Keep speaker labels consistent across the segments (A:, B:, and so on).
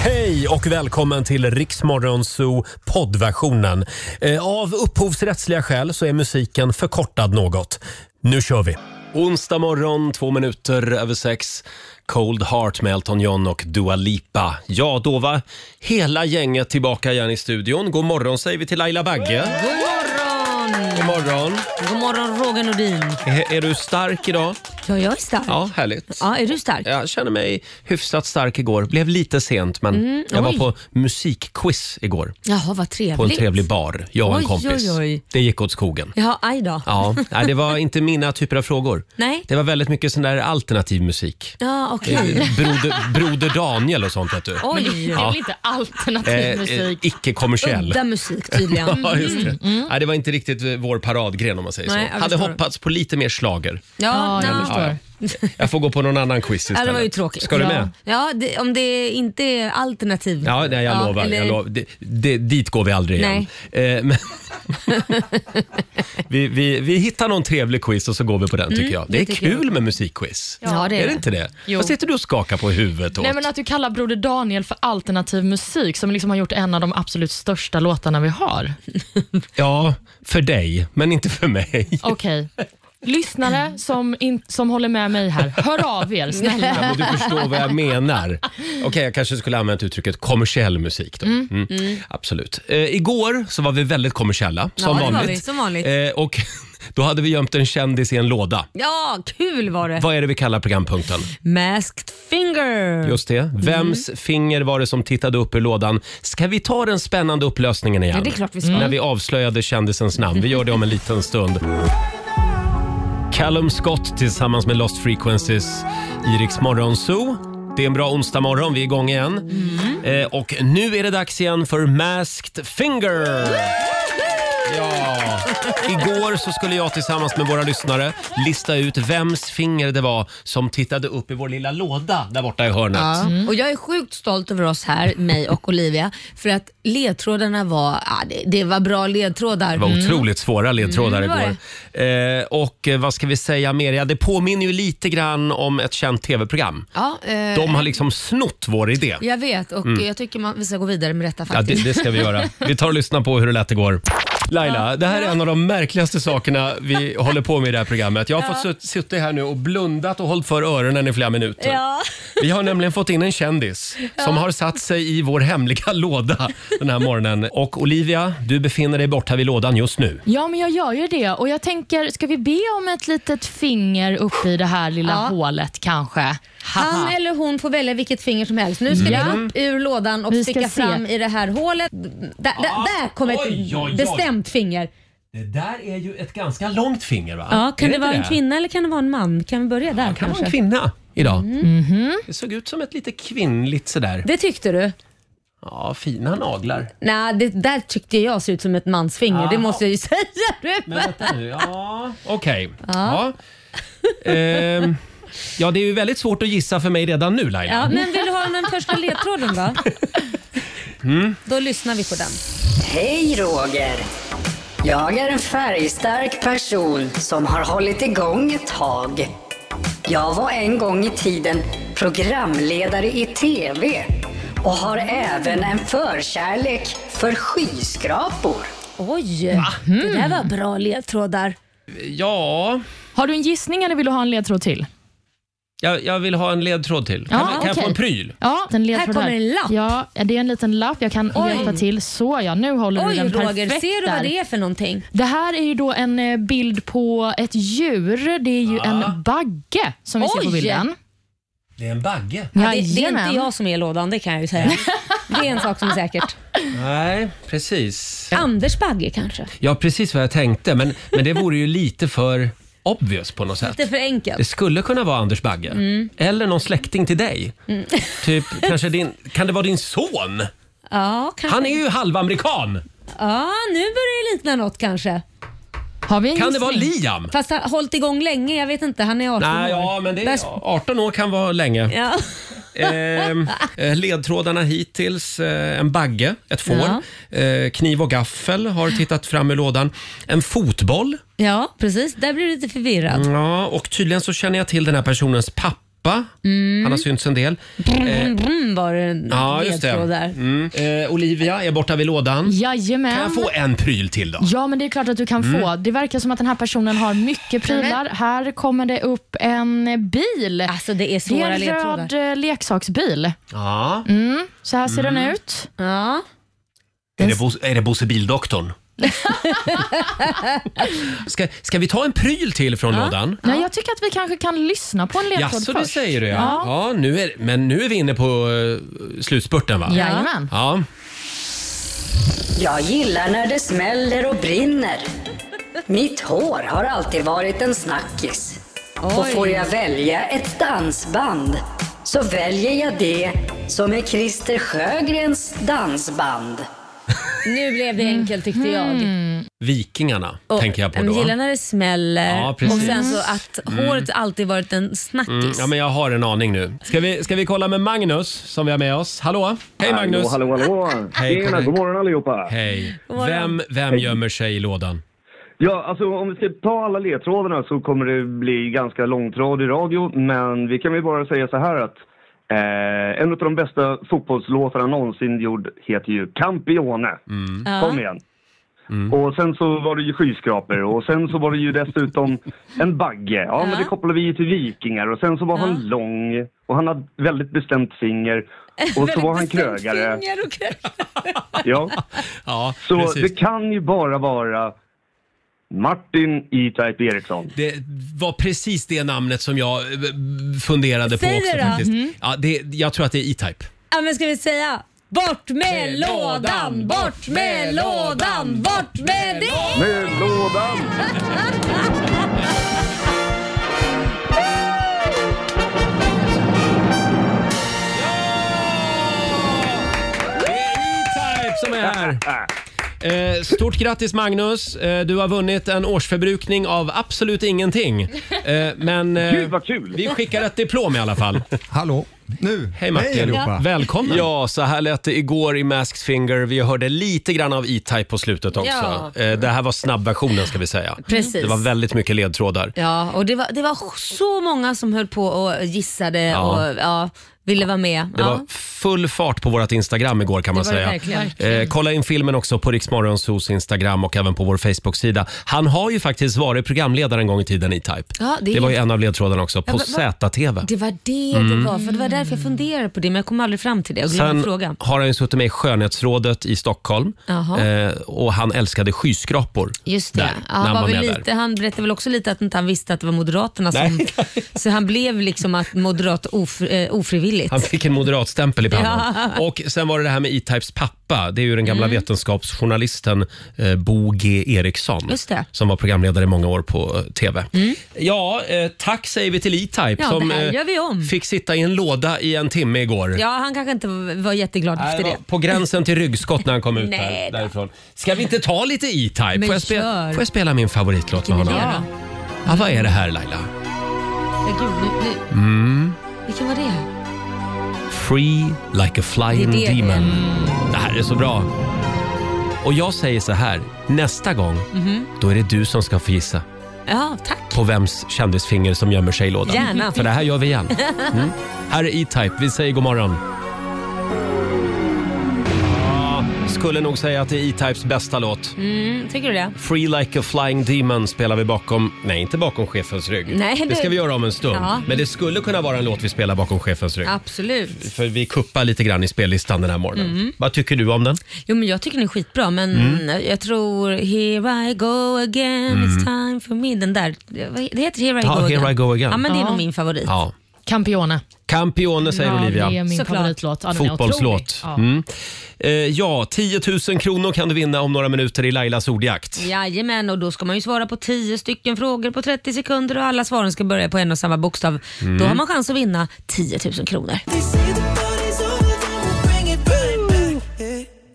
A: Hej och välkommen till Riksmorgonzoo poddversionen. Eh, Av upphovsrättsliga skäl så är musiken förkortad något. Nu kör vi! Onsdag morgon, två minuter över sex. Cold Heart med Elton John och Dua Lipa. Ja, då var hela gänget tillbaka igen i studion. God morgon säger vi till Laila Bagge.
B: God morgon!
A: God morgon.
B: God morgon Roger Nordin.
A: Är, är du stark idag?
B: Ja, jag är stark. Ja.
A: Ja, härligt.
B: är du stark?
A: Jag känner mig hyfsat stark igår. Blev lite sent, men jag var
B: oj.
A: på musikquiz igår.
B: Jaha, vad trevligt.
A: på en trevlig bar, jag och en
B: Oj,
A: kompis.
B: oj, oj.
A: Det gick åt skogen.
B: Jaha, aj då.
A: Ja, nej, det var inte mina typer av frågor.
B: Nej.
A: Det var väldigt mycket sån där alternativ musik.
B: Ja, okej.
A: Eh, Broder, broder Daniel och sånt vet du. Eh,
C: Men det,
B: Oj.
C: det är väl inte alternativ musik?
A: Icke-kommersiell.
B: Udda musik tydligen.
A: Ja, just det. Nej, det var inte riktigt eh, vår paradgren om man säger så.
B: Nej, jag
A: Hade
B: förstår.
A: hoppats på lite mer slager.
B: Ja,
C: Ja, jag
B: ja,
C: förstår.
A: Ja, ja. Jag får gå på någon annan quiz istället.
B: ja, det var ju tråkigt.
A: Ska du
B: ja.
A: med?
B: Ja, det, om det inte är alternativ.
A: Ja, nej, jag lovar.
B: eller-
A: Jag lovar. Det, det, dit går vi aldrig igen. Eh, men vi, vi, vi hittar någon trevlig quiz och så går vi på den tycker jag. Det,
B: Mm, det
A: är
B: tycker jag.
A: kul med musikquiz.
B: Ja, det är
A: är det
B: det.
A: inte det?
C: Jo.
A: Vad sitter du och skakar på huvudet åt?
C: Nej, men att du kallar Broder Daniel för alternativ musik som liksom har gjort en av de absolut största låtarna vi har.
A: Ja, för dig, men inte för mig.
C: Okej. Lyssnare som, in, som håller med mig här, hör av er snälla.
A: Ja, men du förstår vad jag menar. Okej, jag kanske skulle använt uttrycket kommersiell musik då. Mm. Absolut. Eh, igår så var vi väldigt kommersiella, som
B: det var vi,
A: vanligt.
B: som vanligt.
A: Eh, och då hade vi gömt en kändis i en låda.
B: Ja, kul var det.
A: Vad är det vi kallar programpunkten?
B: Masked finger.
A: Just det. Vems
B: mm.
A: finger var det som tittade upp ur lådan? Ska vi ta den spännande upplösningen igen?
B: Ja, det är klart vi ska.
A: När vi avslöjade kändisens namn. Vi gör det om en liten stund. Callum Scott tillsammans med Lost Frequencies i Rix Morgon Zoo. Det är en bra onsdag morgon, vi är igång igen. Eh, och nu är det dags igen för Masked Finger! Ja. Igår så skulle jag tillsammans med våra lyssnare lista ut vems finger det var som tittade upp i vår lilla låda där borta i hörnet.
B: Ja. Och jag är sjukt stolt över oss här, mig och Olivia, för att ledtrådarna var, ah, det, det var bra ledtrådar.
A: Det var otroligt svåra ledtrådar
B: Mm, det var
A: igår. Eh, och eh, vad ska vi säga mer? Ja, det påminner ju lite grann om ett känt tv-program.
B: Ja, eh,
A: De har liksom snott vår idé.
B: Jag vet och jag tycker man, vi ska gå vidare med detta
A: Mm. Ja, det,
B: faktiskt.
A: det ska vi göra. Vi tar och lyssnar på hur det lät igår. Laila, det här är en av de märkligaste sakerna vi håller på med i det här programmet. Jag har fått sutt- suttit här nu och blundat och hållit för öronen i flera minuter.
B: Ja.
A: Vi har nämligen fått in en kändis som har satt sig i vår hemliga låda den här morgonen. Och Olivia, du befinner dig borta vid lådan just nu.
C: Ja, men jag gör ju det och jag tänker, ska vi be om ett litet finger uppe i det här lilla
B: Ja.
C: hålet kanske?
B: Han
C: Haha.
B: eller hon får välja vilket finger som helst. Nu
A: Mm.
B: ska
C: Ja.
B: vi upp ur lådan och
C: Vi ska
B: sticka
C: se.
B: fram i det här hålet. Där, där, där kom ett
A: Ah, Oj, oj, oj.
B: bestämt finger.
A: Det där är ju ett ganska långt finger va?
B: Ja, kan
A: Är
B: det, vara
A: inte
B: en kvinna eller kan det vara en man? Kan vi börja där
A: Det kan vara
B: kanske? Mm.
A: en kvinna idag. Det såg ut som ett lite kvinnligt sådär.
B: Det tyckte du?
A: Ja, fina naglar.
B: Nej, det där tyckte jag ser ut som ett mansfinger.
A: Ja.
B: Det måste jag ju säga.
A: Ah. Men vänta nu, ja, okej. Ja. Ehm, ja, det är ju väldigt svårt att gissa för mig redan nu Laila.
B: Ja, men vill du ha den första ledtråden då?
A: Mm.
B: Då lyssnar vi på den.
D: Hej Roger! Jag är en färgstark person som har hållit igång ett tag. Jag var en gång i tiden programledare i TV och har även en förkärlek för skyskrapor.
B: Oj, det där var bra ledtrådar.
A: Ja,
C: Har du en gissning eller vill du ha en ledtråd till?
A: jag, jag vill ha en ledtråd till. Kan,
C: Ja,
A: vi- kan jag få
C: okej.
A: en pryl?
C: Ja, en ledtråd
B: Här kommer en lapp.
C: Ja, det är en liten lapp. Jag kan
B: Oj.
C: hjälpa till. Så ja, nu håller du
B: Oj
C: den perfekt
B: Roger, ser du
C: där.
B: vad det är för någonting?
C: Det här är ju då en eh, bild på ett djur. Det är ju en bagge som vi ser på
B: Oj!
C: bilden.
A: Det är en bagge.
B: Ja, det, det är
C: Jajamän.
B: inte jag som är i lådan, det kan jag ju säga. Det är en sak som är säkert.
A: Nej, precis.
B: Anders Bagge kanske?
A: Ja, precis vad jag tänkte. Men, men det vore ju lite för obvious på något sätt.
B: Lite för
A: Det
B: enkelt.
A: skulle kunna vara Anders Bagge. Eller någon släkting till dig. Typ, kanske din, kan det vara din son?
B: Ja, kanske.
A: Han är ju halvamerikan.
B: ja, nu börjar det likna något kanske.
C: Har vi en
A: Kan det
C: gissning?
A: vara Liam?
B: Fast han har hållit igång länge, jag vet inte. Han är 18
A: Nej,
B: år.
A: ja, men det är,
B: Där-
A: 18 år kan vara länge.
B: Ja.
A: Ehm, Eh, ledtrådarna hittills, eh, en bagge, ett får, eh, kniv och gaffel har tittat fram i lådan, en fotboll
B: ja, precis. Där blir du lite förvirrad.
A: ja, och tydligen så känner jag till den här personens pappa. Han har har synts en del.
B: Brum, brum, var det en
A: Mm, eh. Ja, just det.
B: ledtråd där.
A: Mm. Eh, Olivia är borta vid lådan.
C: Jajamän.
A: Kan jag få Mm. en pryl till då?
C: Ja, men det är klart att du kan få. Det verkar som att den här personen har mycket prylar. Här kommer det upp en bil.
A: Äh,
B: Alltså det är
C: det
B: svåra
C: är en
B: ledtrådar.
C: röd eh, leksaksbil.
A: Ja.
C: Mm. Så här ser den ut.
B: Ja.
A: Är, det Bo- är det Bosse Bildoktorn? ska, ska vi ta en pryl till från lådan?
C: Nej, jag tycker att vi kanske kan lyssna på en ledtråd
A: Jaså, det
C: först.
A: säger du ja. ja. nu är, men nu är vi inne på eh, slutspurten va?
C: Jajamän.
A: Ja.
D: Jag gillar när det smäller och brinner. Mitt hår har alltid varit en snackis. Och
B: Oj.
D: får jag välja ett dansband så väljer jag det som är Christer Sjögrens dansband.
B: Nu blev det enkelt tyckte jag.
A: Vikingarna
B: Och,
A: tänker jag på
B: men
A: då. Mm,
B: Gillar när det smäller
A: Ja, precis.
B: och sen så att håret alltid varit en snackis.
A: Mm, ja, men jag har en aning nu. Ska vi, ska vi kolla med Magnus som vi har med oss? Hallå? Hej Magnus!
E: Hallå, hallå, hallå.
A: Hej,
E: Tjena,
A: Karl-Erik.
E: god morgon allihopa.
A: Hej.
B: morgon.
A: Vem, vem gömmer sig i lådan?
E: Ja, alltså om vi ska ta alla ledtrådarna så kommer det bli ganska långtradig radio, men vi kan väl bara säga så här att eh, en av de bästa fotbollslåtarna någonsin gjord heter ju Campione.
A: Mm.
B: Ja.
E: Kom igen. Och sen så var det ju skyskrapor och sen så var det ju dessutom en bagge. Ja, men det kopplar vi ju till vikingar och sen så var han lång och han hade väldigt bestämt finger och så var han krögare.
B: Finger och krögare.
E: Ja.
A: Ja,
E: Så
A: precis.
E: det kan ju bara vara Martin E-Type Eriksson.
A: Det var precis det namnet som jag eh, funderade på
B: Säg
A: också
B: det då. Mm.
A: faktiskt. Ja, det, jag tror att det är E-Type.
B: Ja men ska vi säga Bort med lådan, bort med lådan, bort med det!
E: Med lådan!
A: Det är E-Type som är här.
E: Äh,
A: Eh, Stort grattis Magnus! Eh, Du har vunnit en årsförbrukning av absolut ingenting. Eh, Men eh,
E: Gud vad kul!
A: vi skickar ett diplom i alla fall.
F: Hallå, nu.
A: Hej Martin!
F: allihopa.
A: Välkommen! Ja, så här lät det igår i Masked Finger. Vi hörde lite grann av E-Type på slutet också.
B: Ja.
A: Eh, Det här var snabbversionen ska vi säga.
B: Precis.
A: Det var väldigt mycket ledtrådar.
B: Ja, och det var, det var så många som höll på och gissade
A: Ja.
B: och ja, ville vara med.
A: Det
B: ja.
A: var full fart på vårt Instagram igår kan man
B: Det var det
A: säga.
B: verkligen.
A: Eh, kolla in filmen också på Riksmorgonsos Instagram och även på vår Facebook-sida. Han har ju faktiskt varit programledare en gång i tiden i Type.
B: Ja,
A: det,
B: det är-
A: var ju en av ledtrådarna också på
B: Ja, va- va-
A: ZTV.
B: det var det det var, för det var därför jag funderade på det men jag kom aldrig fram till det och glömde
A: Mm. Sen
B: frågan.
A: har han ju suttit med i skönhetsrådet i Stockholm
B: Jaha.
A: eh, och han älskade skyskrapor.
B: Just det.
A: Där,
B: ja,
A: när
B: han,
A: han
B: var
A: var
B: väl
A: med
B: lite, han berättade väl också lite att inte han visste att det var Moderaterna som... så han blev liksom att moderat ofri, eh, ofrivilligt.
A: Han fick en moderatstämpel i pannan. Och sen var det det här med E-Types pappa. Det är ju den gamla
B: Mm.
A: vetenskapsjournalisten eh, Bo G Eriksson.
B: Just det. Mm.
A: Som var programledare i många år på eh, TV. Ja, eh, tack säger vi till E-Type
B: Ja,
A: som eh,
B: det här gör vi om.
A: fick sitta i en låda i en timme igår.
B: Ja, han kanske inte var jätteglad
A: Nej,
B: efter
A: det
B: det.
A: var På gränsen till ryggskott när han kom ut
B: Nej
A: där,
B: då.
A: därifrån. Ska vi inte ta lite E-Type?
B: Men
A: Får, jag spela-
B: kör.
A: får jag spela min favoritlåt med
B: Vilken
A: honom?
B: idé
A: Ja.
B: då?
A: ja, vad är det här Laila?
B: Ja, gud, nu, nu.
A: Mm.
B: Vilken var det?
A: Free like a flying
B: Det är det.
A: demon. Det här är så bra. Och jag säger så här, nästa gång,
B: Mhm.
A: då är det du som ska få gissa
B: Ja, tack.
A: på vems kändisfinger som gömmer sig i lådan.
B: Gärna.
A: För det här gör vi igen. Mm. Här är E-Type, vi säger god morgon. Ja, Skulle nog säga att det är E-Types bästa låt.
B: Mm, tycker du det?
A: Free Like a Flying Demon spelar vi bakom, nej inte bakom chefens rygg.
B: Nej,
A: det
B: det-
A: ska vi göra om en stund.
B: Ja.
A: Men det skulle kunna vara en låt vi spelar bakom chefens rygg.
B: Absolut.
A: För vi kuppar lite grann i spellistan den här morgonen.
C: Mm.
A: Vad tycker du om den?
B: Jo, men jag tycker den är skitbra, men
A: Mm.
B: jag tror “Here I go again, it's time for me”. Den där, vad- det heter “Here I
A: Ja,
B: go
A: Here
B: again”.
A: I Go Again.
B: Ja, men det är
C: Ja.
B: nog min favorit.
A: Ja.
C: Campione.
A: Campione säger Olivia.
C: Det är min
B: Såklart.
C: favoritlåt. Ja, den är
A: Fotbollslåt.
C: otrolig. Ja.
A: Mm. Eh, ja, 10 000 kronor kan du vinna om några minuter i Lailas ordjakt.
B: Jajamän, och då ska man ju svara på 10 stycken frågor på 30 sekunder och alla svaren ska börja på en och samma bokstav.
A: Mm.
B: Då har man chans att vinna 10 000 kronor.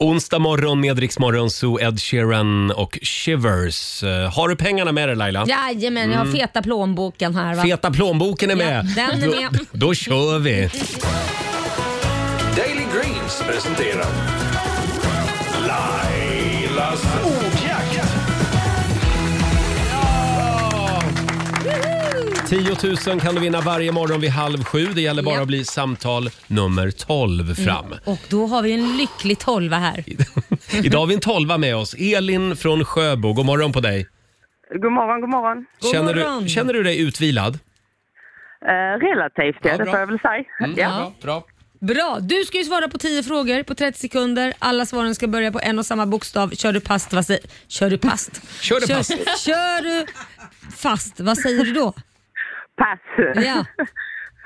A: Onsdag morgon med Rix Morgon, Zoo, Ed Sheeran och Shivers. Eh, har du pengarna med dig Laila?
B: Jajamän, jag
A: Mm.
B: har feta plånboken här. Va?
A: Feta plånboken är
B: Ja,
A: med.
B: den är
A: då,
B: med.
A: då kör vi.
G: Daily Greens presenterar Lailas ordjakt.
A: 10 000 kan du vinna varje morgon vid halv sju. Det gäller bara
B: Ja. Mm.
A: att bli samtal nummer 12 fram.
B: Och då har vi en lycklig tolva här.
A: Idag har vi en tolva med oss. Elin från Sjöbo, god morgon på dig.
F: God morgon, god morgon.
B: God
A: känner,
B: morgon.
A: du, känner du dig utvilad?
F: Eh, relativt, ja,
A: Ja, bra.
F: det
A: Mm.
F: får jag väl säga. ja.
A: Bra, bra.
B: Bra, du ska ju svara på 10 frågor på 30 sekunder. Alla svaren ska börja på en och samma bokstav. Kör du past, vad säger... Kör du past?
A: Kör du past?
B: Kör, kör du fast, vad säger du då?
F: Pass.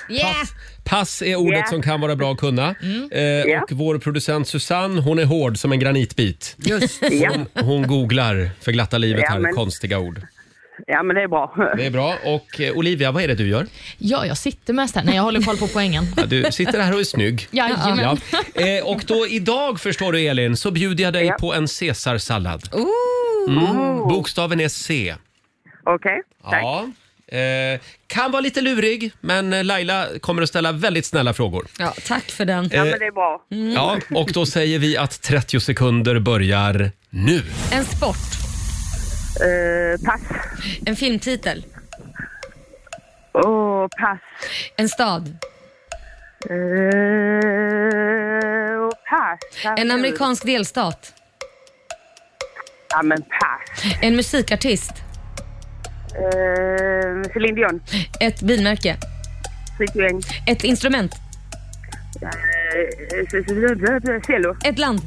B: Ja. Yeah.
A: Pass är ordet
F: Ja. Mm.
A: som kan vara bra att kunna. Eh,
F: Ja.
A: Och vår producent Susanne, hon är hård som en granitbit.
B: Just.
F: Ja.
A: Hon googlar för glatta livet
F: Ja,
A: här,
F: men-
A: konstiga ord.
F: ja, men det är bra.
A: Det är bra. Och eh, Olivia, vad är det du gör?
C: Ja, jag sitter mest här. Nej, jag håller koll på poängen.
A: Ja, Du sitter här och är snygg.
C: Jajamän.
A: Ja. Eh, och då idag förstår du Elin, så bjuder jag dig
F: Ja.
A: på en caesarsallad. Mm.
B: Ooh.
A: Bokstaven är C.
F: Okej, tack.
A: Ja. Eh, kan vara lite lurig, men eh, Laila kommer att ställa väldigt snälla frågor.
B: Ja, tack för den.
F: Ja,
A: eh,
F: men det är bra.
A: Ja, och då säger vi att 30 sekunder börjar nu.
B: En sport,
F: Eh, pass.
B: en filmtitel,
F: Åh, pass.
B: en stad,
F: Eh, pass.
B: en amerikansk delstat,
F: Ja, men pass.
B: en musikartist,
F: Eh, Céline Dion.
B: ett bilmärke,
F: Citroën.
B: ett instrument,
F: Eh, Cello.
B: ett land,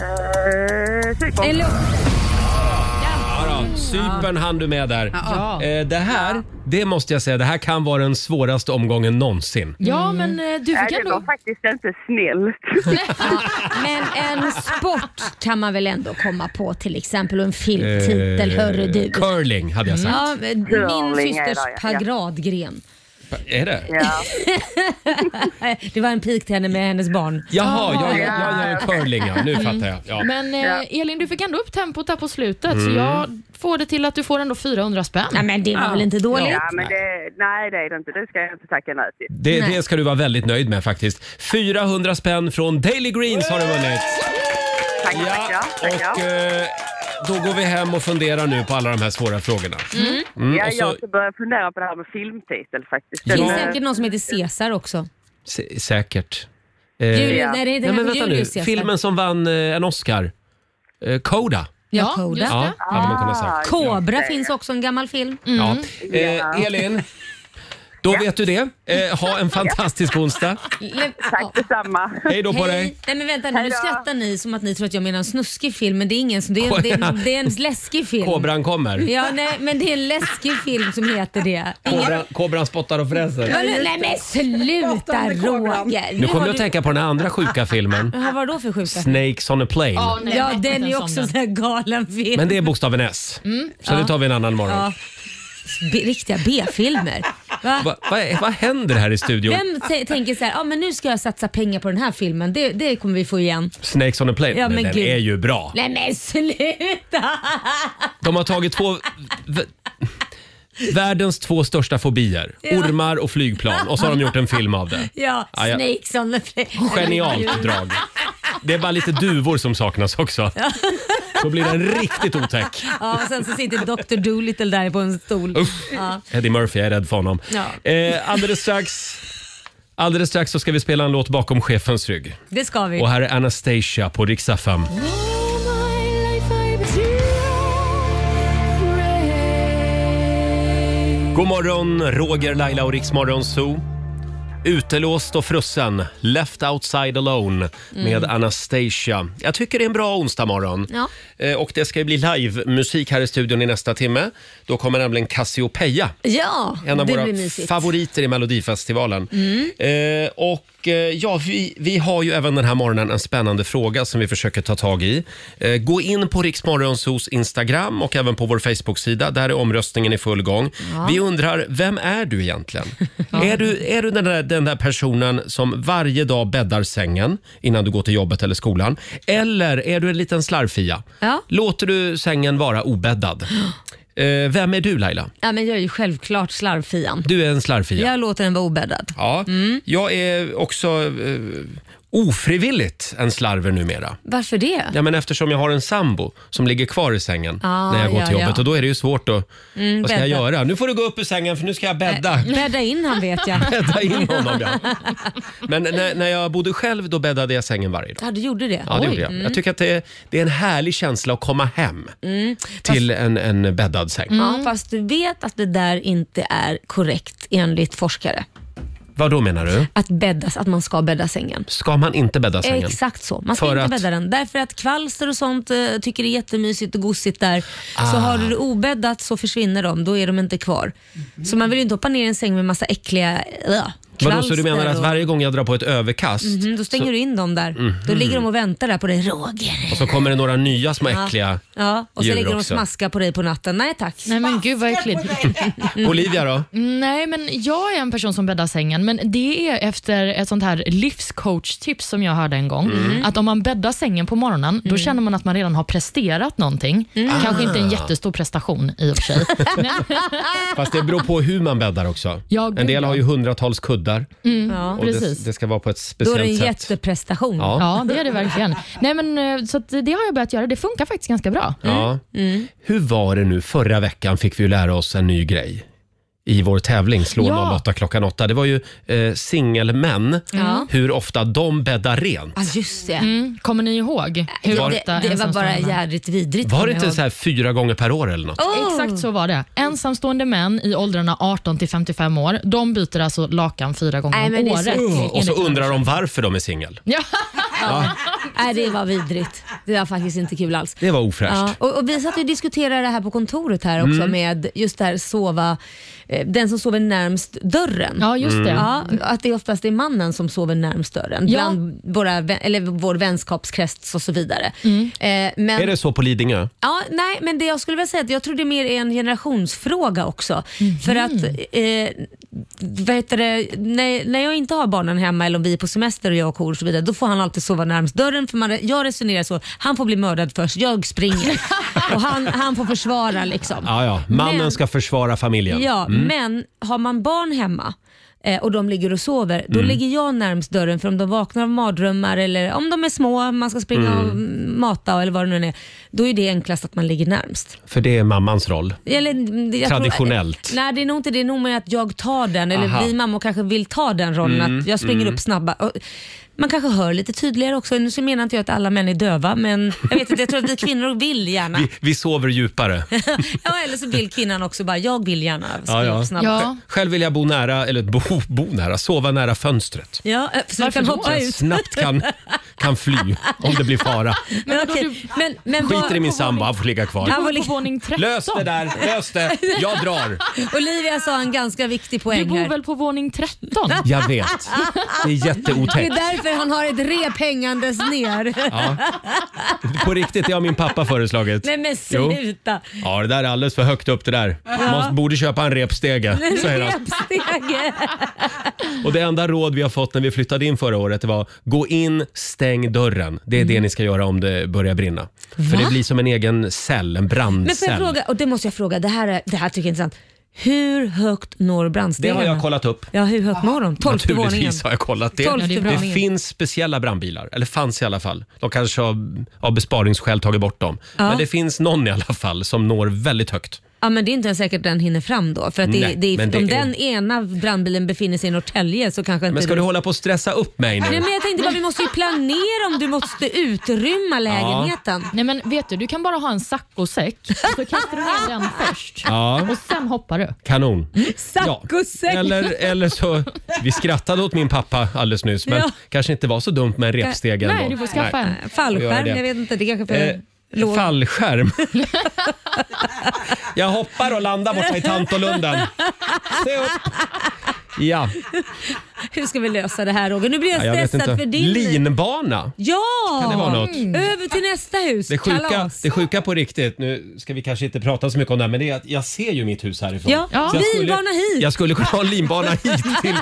F: Eh,
B: en
F: Cypern.
B: luft.
A: Ja, då. Cypern hann du med där.
C: Ja.
A: Eh, det här, det måste jag säga, det här kan vara den svåraste omgången någonsin.
C: Ja,
A: Mm.
C: men eh, du
F: Nej,
C: fick
F: det var
C: ändå...
F: faktiskt inte snällt.
B: Ja, men en sport kan man väl ändå komma på till exempel och en
A: Eh,
B: filmtitel, hörru du.
A: Curling hade jag sagt.
B: Ja, min
F: Curling är det, ja.
B: systers paradgren.
A: Är det?
F: ja.
B: Det var en pik till henne med hennes barn.
A: Jaha, ja, ja, ja, ja, curling ja. Nu fattar jag. Ja.
C: Men
F: Ja.
C: eh, Elin, du fick ändå upp tempot där på slutet,
A: Mm.
C: så jag får det till att du får ändå 400
B: Nej
C: spänn.
B: men det var väl inte dåligt?
F: Ja, men det, nej, det är det inte. Det ska jag inte tacka nej till.
A: Det, det ska du vara väldigt nöjd med faktiskt. 400 spänn från Daily Greens har du vunnit.
F: Tack, tackar. tackar.
A: och eh, då går vi hem och funderar nu på alla de här svåra frågorna.
F: ja,
A: och så-
F: Jag ska börja fundera på det här med filmtitel faktiskt.
B: Det
F: Den,
B: finns
F: eh,
B: säkert någon som heter Caesar också.
A: S- säkert. Eh,
B: Julius,
F: Ja.
B: Nej, det heter
A: nej, men
B: kanske
A: vänta nu.
B: Julius Caesar.
A: Filmen som vann eh, en Oscar, eh, Coda.
B: Ja, Mm.
C: just
B: Coda.
A: Ja,
C: det.
A: hade man kunnat säga.
F: Ah,
B: Kobra finns också, en gammal film.
F: Mm.
A: Ja. Eh, Elin, då vet du det. Eh, ha en fantastisk onsdag.
B: Le-
F: Tack detsamma.
A: Hej då på dig.
B: Mm, Hej. Nej men vänta nu, nu
F: då.
B: skrattar ni som att ni tror att jag menar en snuskig film men det är ingen som- det är, det är, det är en läskig film.
A: Kobran kommer.
B: Ja nej men det är en läskig film som heter det. Ingen...
A: Kobran, kobran spottar och fräser.
B: Men nu- Nej men sluta Roger!
A: Nu
B: har
A: kommer jag att
B: du-
A: tänka på den här andra sjuka filmen.
B: Jaha, vad då för sjuka?
A: Snakes on a plane.
C: Ja, nej,
B: Ja
C: nej, inte
B: den är
C: ens
B: ju
C: om
B: också
C: den.
B: en sån här galen film.
A: Men det är bokstaven S. Så det tar vi en annan morgon.
B: Mm. Ja. B- riktiga B-filmer. Va?
A: Va, va, vad händer här i studion?
B: Vem t- tänker så här, ah, men nu ska jag satsa pengar på den här filmen, det, det kommer vi få igen.
A: Snakes on a plane.
B: Ja,
A: men
B: men
A: den
B: gud.
A: är ju bra.
B: Nej men sluta!
A: De har tagit två... v- Världens två största fobier. Ormar och flygplan. Och så har de gjort en film av det.
B: Ja,
A: Ah, Ja, ja.
B: Snakes on the plane.
A: Genialt drag. Det är bara lite duvor som saknas också. Då blir den riktigt otäck.
B: Ja, och sen så sitter Dr. Dolittle där på en stol.
A: Usch.
B: Ja.
A: Eddie Murphy, jag är rädd för honom.
B: Ja.
A: Eh, alldeles strax Alldeles strax så ska vi spela en låt bakom chefens rygg.
B: Det ska vi.
A: Och här är Anastasia på Rix FM. God morgon, Roger, Laila och Riksmorgon Zoo. Utelåst och frusen, Left Outside Alone med Anastasia. Jag tycker det är en bra onsdagmorgon.
B: Ja.
A: Eh, Och det ska ju bli livemusik här i studion i nästa timme. Då kommer nämligen Cassiopeia,
B: Ja,
A: en av
B: det
A: våra
B: blir mysigt. Mm.
A: favoriter i Melodifestivalen. Eh, Och eh, ja, vi, vi har ju även den här morgonen en spännande fråga som vi försöker ta tag i. Eh, Gå in på Riksmorgonsos Instagram och även på vår Facebook-sida. Där är omröstningen i full gång. Vi undrar, vem är du egentligen? Är du, är du den, där, den där personen som varje dag bäddar sängen innan du går till jobbet eller skolan? Eller är du en liten slarvfia?
B: Ja.
A: Låter du sängen vara obäddad? Eh, Vem är du Laila?
B: Ja, men jag är ju självklart slarvfian.
A: Du är en slarvfia.
B: Mm. Jag låter den vara obäddad.
A: Ja, jag är också eh, ofrivilligt en slarver numera.
B: Varför det?
A: Ja, men eftersom jag har en sambo som ligger kvar i sängen
B: Ah,
A: när jag går till
B: ja,
A: jobbet
B: ja.
A: och då är det ju svårt att...
B: Mm,
A: vad ska jag
B: bädda.
A: göra? Nu får du gå upp ur sängen för nu ska jag bädda.
B: Bädda in han vet jag.
A: Bädda in honom ja. Men när, när jag bodde själv då bäddade jag sängen varje dag.
B: Ja, du gjorde det?
A: Ja, det gjorde jag.
B: Mm.
A: jag tycker att det är, det är en härlig känsla att komma hem
B: Mm.
A: till en, en bäddad säng.
B: Ja, fast du vet att det där inte är korrekt enligt forskare.
A: Vad då menar du?
B: Att, bäddas, att man ska bädda sängen.
A: Ska man inte bädda sängen?
B: Exakt så. Man ska
A: För
B: inte
A: att-
B: bädda den. Därför att kvalster och sånt eh, tycker det är jättemysigt och gosigt där. Så
A: Ah.
B: har du det obäddat så försvinner de. Då är de inte kvar. Så man vill ju inte hoppa ner i en säng med massa äckliga äh,
A: Mhm. Vadå, så du menar
B: kvalster
A: att
B: och-
A: varje gång jag drar på ett överkast
B: Mhm, då stänger
A: så,
B: du in dem där. Då
A: Mhm.
B: ligger de och väntar där på dig. Roger.
A: och så kommer det några nya små
B: Ja.
A: äckliga
B: Ja, och så
A: djur
B: ligger de och
A: också.
B: smaskar på dig på natten. Nej tack.
C: Nej men gud vad äckligt.
B: Mm.
A: Olivia då?
C: Nej, men jag är en person som bäddar sängen, men det är efter ett sånt här livscoach-tips som jag hörde en gång.
H: Mm.
C: Att om man bäddar sängen på morgonen, då känner man att man redan har presterat någonting.
A: Mm.
C: Kanske inte en
A: Ah.
C: jättestor prestation i och för sig.
A: Fast det beror på hur man bäddar också.
C: Ja,
A: en
C: gud,
A: del har
C: ja.
A: ju hundratals kuddar.
C: Mm,
A: och det, det ska vara på ett
B: Då är
A: speciellt
B: det en
A: sätt.
B: jätteprestation.
A: Ja.
C: Ja, det är det verkligen. Nej, men, eh, så att det har jag börjat göra. Det funkar faktiskt ganska bra.
A: Ja.
B: Mm.
A: Hur var det nu? Förra veckan fick vi ju lära oss en ny grej i vår tävling Slå
C: Ja.
A: 08 klockan 8. Det var ju eh, singelmän,
B: Ja.
A: hur ofta de bäddar rent.
B: Ja, just
A: Mm.
B: det.
C: Mm. Kommer ni ihåg hur
A: Var-
C: ofta
B: Det var
C: ensamstående män-
B: bara jädrigt vidrigt.
A: Var
B: kommer
A: det
B: jag
A: inte
B: ihåg.
A: så här fyra gånger per år eller något?
C: Exakt så var
B: Mm.
C: det. Ensamstående män i åldrarna 18 till 55 år, de byter alltså lakan fyra gånger
B: Nej, men
C: om
B: det är
C: året. Mm.
B: så äckligt.
A: Och så undrar de varför de är singel.
C: Ja.
A: Ja.
B: Nej, det var vidrigt. Det var faktiskt inte kul alls.
A: Det var ofräscht.
B: Ja, och, och vi satt ju och diskuterade det här på kontoret här också
A: Mm.
B: med just det här sova, eh, den som sover närmst dörren.
C: Ja, just det.
B: Ja, att det oftast är mannen som sover närmst dörren
C: Ja.
B: bland våra, vä- eller vår vänskapskrets och så vidare. Eh, men,
A: Mm. Är det så på Lidingö?
B: Ja, nej, men det jag skulle vilja säga att jag tror det mer är en generationsfråga också.
A: Mhm.
B: För att, eh, vad heter det, när, när jag inte har barnen hemma eller om vi är på semester och jag och och så vidare, då får han alltid sova närmst dörren. För man, jag resonerar så, han får bli mördad först, jag springer. och han, han får försvara liksom.
A: Ja, ja. Mannen
B: Men-
A: ska försvara familjen.
B: Ja,
A: Mm.
B: men har man barn hemma eh, och de ligger och sover, då
A: Mm.
B: ligger jag närmst dörren för om de vaknar av mardrömmar eller om de är små, man ska springa
A: Mm.
B: och mm, mata eller vad det nu än är. Då är det enklast att man ligger närmst.
A: För det är mammans roll.
B: Eller, mm, jag tror-
A: Traditionellt.
B: nej, det är nog inte det. Det är nog mer att jag tar den, eller
A: Aha.
B: vi mammor kanske vill ta den rollen,
A: Mm,
B: att jag springer
A: mm.
B: upp snabba. Och Man kanske hör lite tydligare också. Nu så menar inte jag att alla män är döva, men jag vet inte, jag tror att vi kvinnor vill gärna.
A: Vi, vi sover djupare.
B: ja, eller så vill kvinnan också bara, jag vill gärna springa
A: Ja, ja.
B: upp snabbare.
A: Sj- Själv vill jag bo nära, eller bo, bo nära, sova nära fönstret.
B: Ja, eh, så du
C: Varför
B: kan
C: då?
A: Så
B: hoppa
A: jag
B: ut.
A: snabbt kan, kan fly om det blir fara.
B: Men okej, men, men
A: Skiter
B: vad-
A: i min sambo, han får ligga kvar.
B: Ja, vad
C: På
B: ligger-
C: våning 13.
A: Lös det där, lös det. Jag drar.
B: Olivia sa en ganska viktig
C: Du
B: poäng
C: bor
B: här.
C: väl på våning 13?
A: Jag vet. Det är
B: Det är
A: jätteotäckt.
B: därför han har ett rep hängandes ner.
A: Ja. På riktigt, det har min pappa föreslagit.
B: Nej men
A: Jo.
B: sluta.
A: Ja, det där är alldeles för högt upp det där. Man borde köpa en repstege, säger han.
B: Repstege.
A: Och det enda råd vi har fått när vi flyttade in förra året det var gå in, stäng dörren. Det är det ni ska göra om det börjar brinna. För
B: Mm. Va?
A: det blir som en egen cell, en
B: Men får jag
A: brandcell.
B: fråga, och det måste jag fråga, det här, är, det här tycker jag är intressant. Hur högt når
A: Det
B: brandstegarna?
A: har jag kollat upp.
B: Ja, hur högt når de? Tolfte våningen?
A: Naturligtvis har jag kollat det.
B: Tolfte
A: det
B: våningen.
A: finns speciella brandbilar, eller fanns i alla fall. De kanske har av besparingsskäl tagit bort dem.
B: Ja.
A: Men det finns någon i alla fall som når väldigt högt.
B: Ja, men det är inte ens säkert den hinner fram då. För att det,
A: Nej,
B: det,
A: men det
B: om
A: är-
B: den ena brandbilen befinner sig i Norrtälje så kanske inte...
A: Men ska du hålla på att stressa upp mig
B: Nej,
A: nu?
B: men jag tänkte bara vi måste ju planera om du måste utrymma lägenheten.
C: Nej men vet du, du kan bara ha en saccosäck, så kastar du ner den först
A: Ja,
C: och sen hoppar du.
A: kanon. Ja.
B: Saccosäck!
A: Eller, eller så, vi skrattade åt min pappa alldeles nyss, men
B: Ja. Eh,
A: kanske inte var så dumt med en repstege ändå.
C: Nej, du får skaffa en.
A: Gör
B: Fallskärm,
A: det.
B: jag vet inte. Det kanske för
A: Eh,
B: låg.
A: Fallskärm. Jag hoppar och landar borta i Tantolunden. Se upp. Ja,
B: Hur ska vi lösa det här Roger? Nu blir jag
A: ja, jag vet
B: stressad
A: inte.
B: för din...
A: Linbana.
B: Ja!
A: Kan det vara något?
B: Mm. Över till nästa hus.
A: Det sjuka,
B: Kalas.
A: det sjuka på riktigt, nu ska vi kanske inte prata så mycket om det här, men det är att jag ser ju mitt hus härifrån.
B: Ja,
A: Så jag skulle-
B: linbana hit.
A: Jag skulle kunna ha en linbana hit till,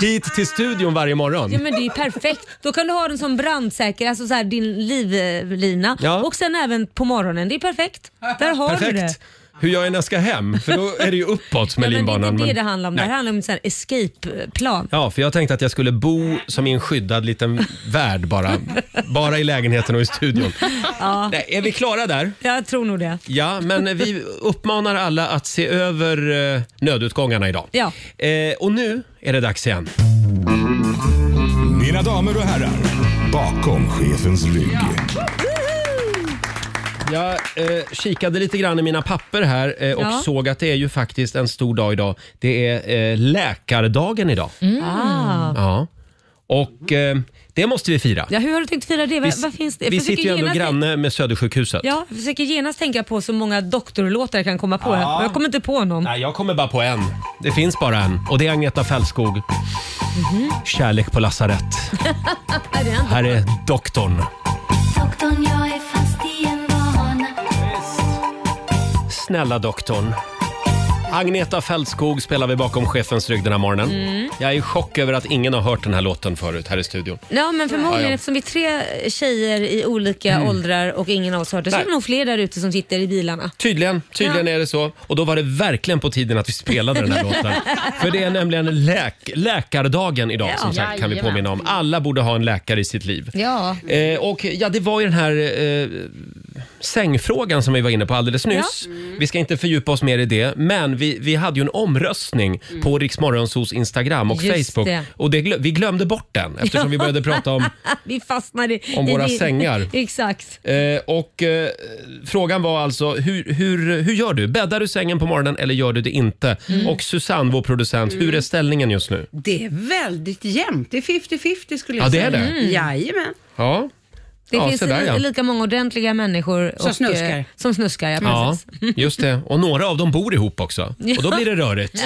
A: hit till studion varje morgon.
B: Ja men det är ju perfekt. Då kan du ha den som brandsäker, alltså så här, din livlina.
A: Ja.
B: Och sen även på morgonen. Det är perfekt. Där har du det.
A: Perfekt. hur jag än ska hem, för då är det ju uppåt
B: Ja, men
A: med
B: det är
A: linbanan.
B: inte det
A: men-
B: det handlar om. Det
A: Nej.
B: här handlar om en sån här escape-plan.
A: Ja, för jag tänkte att jag skulle bo som i en skyddad liten värld bara. Bara i lägenheten och i studion. Nej, är vi klara där?
B: Jag tror nog det.
A: Ja, men vi uppmanar alla att se över eh, nödutgångarna idag.
B: Ja.
A: Eh, och nu är det dags igen.
H: Mina damer och herrar, bakom chefens rygg.
A: Jag eh, kikade lite grann i mina papper här eh, och
B: Ja.
A: såg att det är ju faktiskt en stor dag idag. Det är eh, läkardagen idag.
B: Ah.
A: Ja. Och eh, det måste vi fira.
B: Ja, hur har du tänkt fira det? Vad, vad finns det? Jag
A: vi
B: försöker
A: sitter ju ändå
B: genast-
A: granne med Södersjukhuset.
B: Ja, jag försöker genast tänka på så många doktorlåtar jag kan komma på.
A: Ja.
B: Men Jag kommer inte på någon.
A: Nej, jag kommer bara på en. Det finns bara en och det är Agneta Fältskog.
B: Mhm.
A: Kärlek på lasarett. Här är doktorn.
I: Doktorn, jag är fast i en vana
A: Snälla doktorn. Agneta Fältskog spelar vi bakom chefens rygg den här morgonen.
B: Mm.
A: Jag är i chock över att ingen har hört den här låten förut här i studion.
B: Ja, men förmodligen
A: Ja, ja.
B: eftersom vi är tre tjejer i olika åldrar och ingen av oss har hört det, så är
A: Nej.
B: det nog fler där ute som sitter i bilarna.
A: Tydligen, tydligen är det så. Och då var det verkligen på tiden att vi spelade den här låten. För det är nämligen läk- läkardagen idag som sagt kan vi
C: Jajamän.
A: påminna om. Alla borde ha en läkare i sitt liv.
B: Ja.
A: Eh, och ja, det var ju den här eh, sängfrågan som vi var inne på alldeles nyss. Vi ska inte fördjupa oss mer i det, men vi, vi hade ju en omröstning på Riksmorgonsos Instagram och
B: Mm. Just
A: Facebook.
B: det.
A: Och det glö- vi glömde bort den eftersom vi började prata om...
B: Vi fastnar i...
A: Om
B: i
A: våra
B: i-
A: sängar.
B: Exakt.
A: Eh, och eh, frågan var alltså, hur, hur, hur gör du? Bäddar du sängen på morgonen eller gör du det inte? Och Susanne, vår producent, hur är ställningen just nu?
J: Det är väldigt jämnt. Det är 50-50 skulle jag
A: Ja, det är
J: säga.
A: det.
J: Jajamän.
A: Ja.
B: Det
A: Ja,
B: finns
A: så där,
B: li-
A: ja.
B: lika många ordentliga människor
J: Som
B: och,
J: snuskar.
B: eh, Som snuskar, ja,
A: Ja,
B: precis.
A: just det. Och några av dem bor ihop också. Och då blir det rörigt.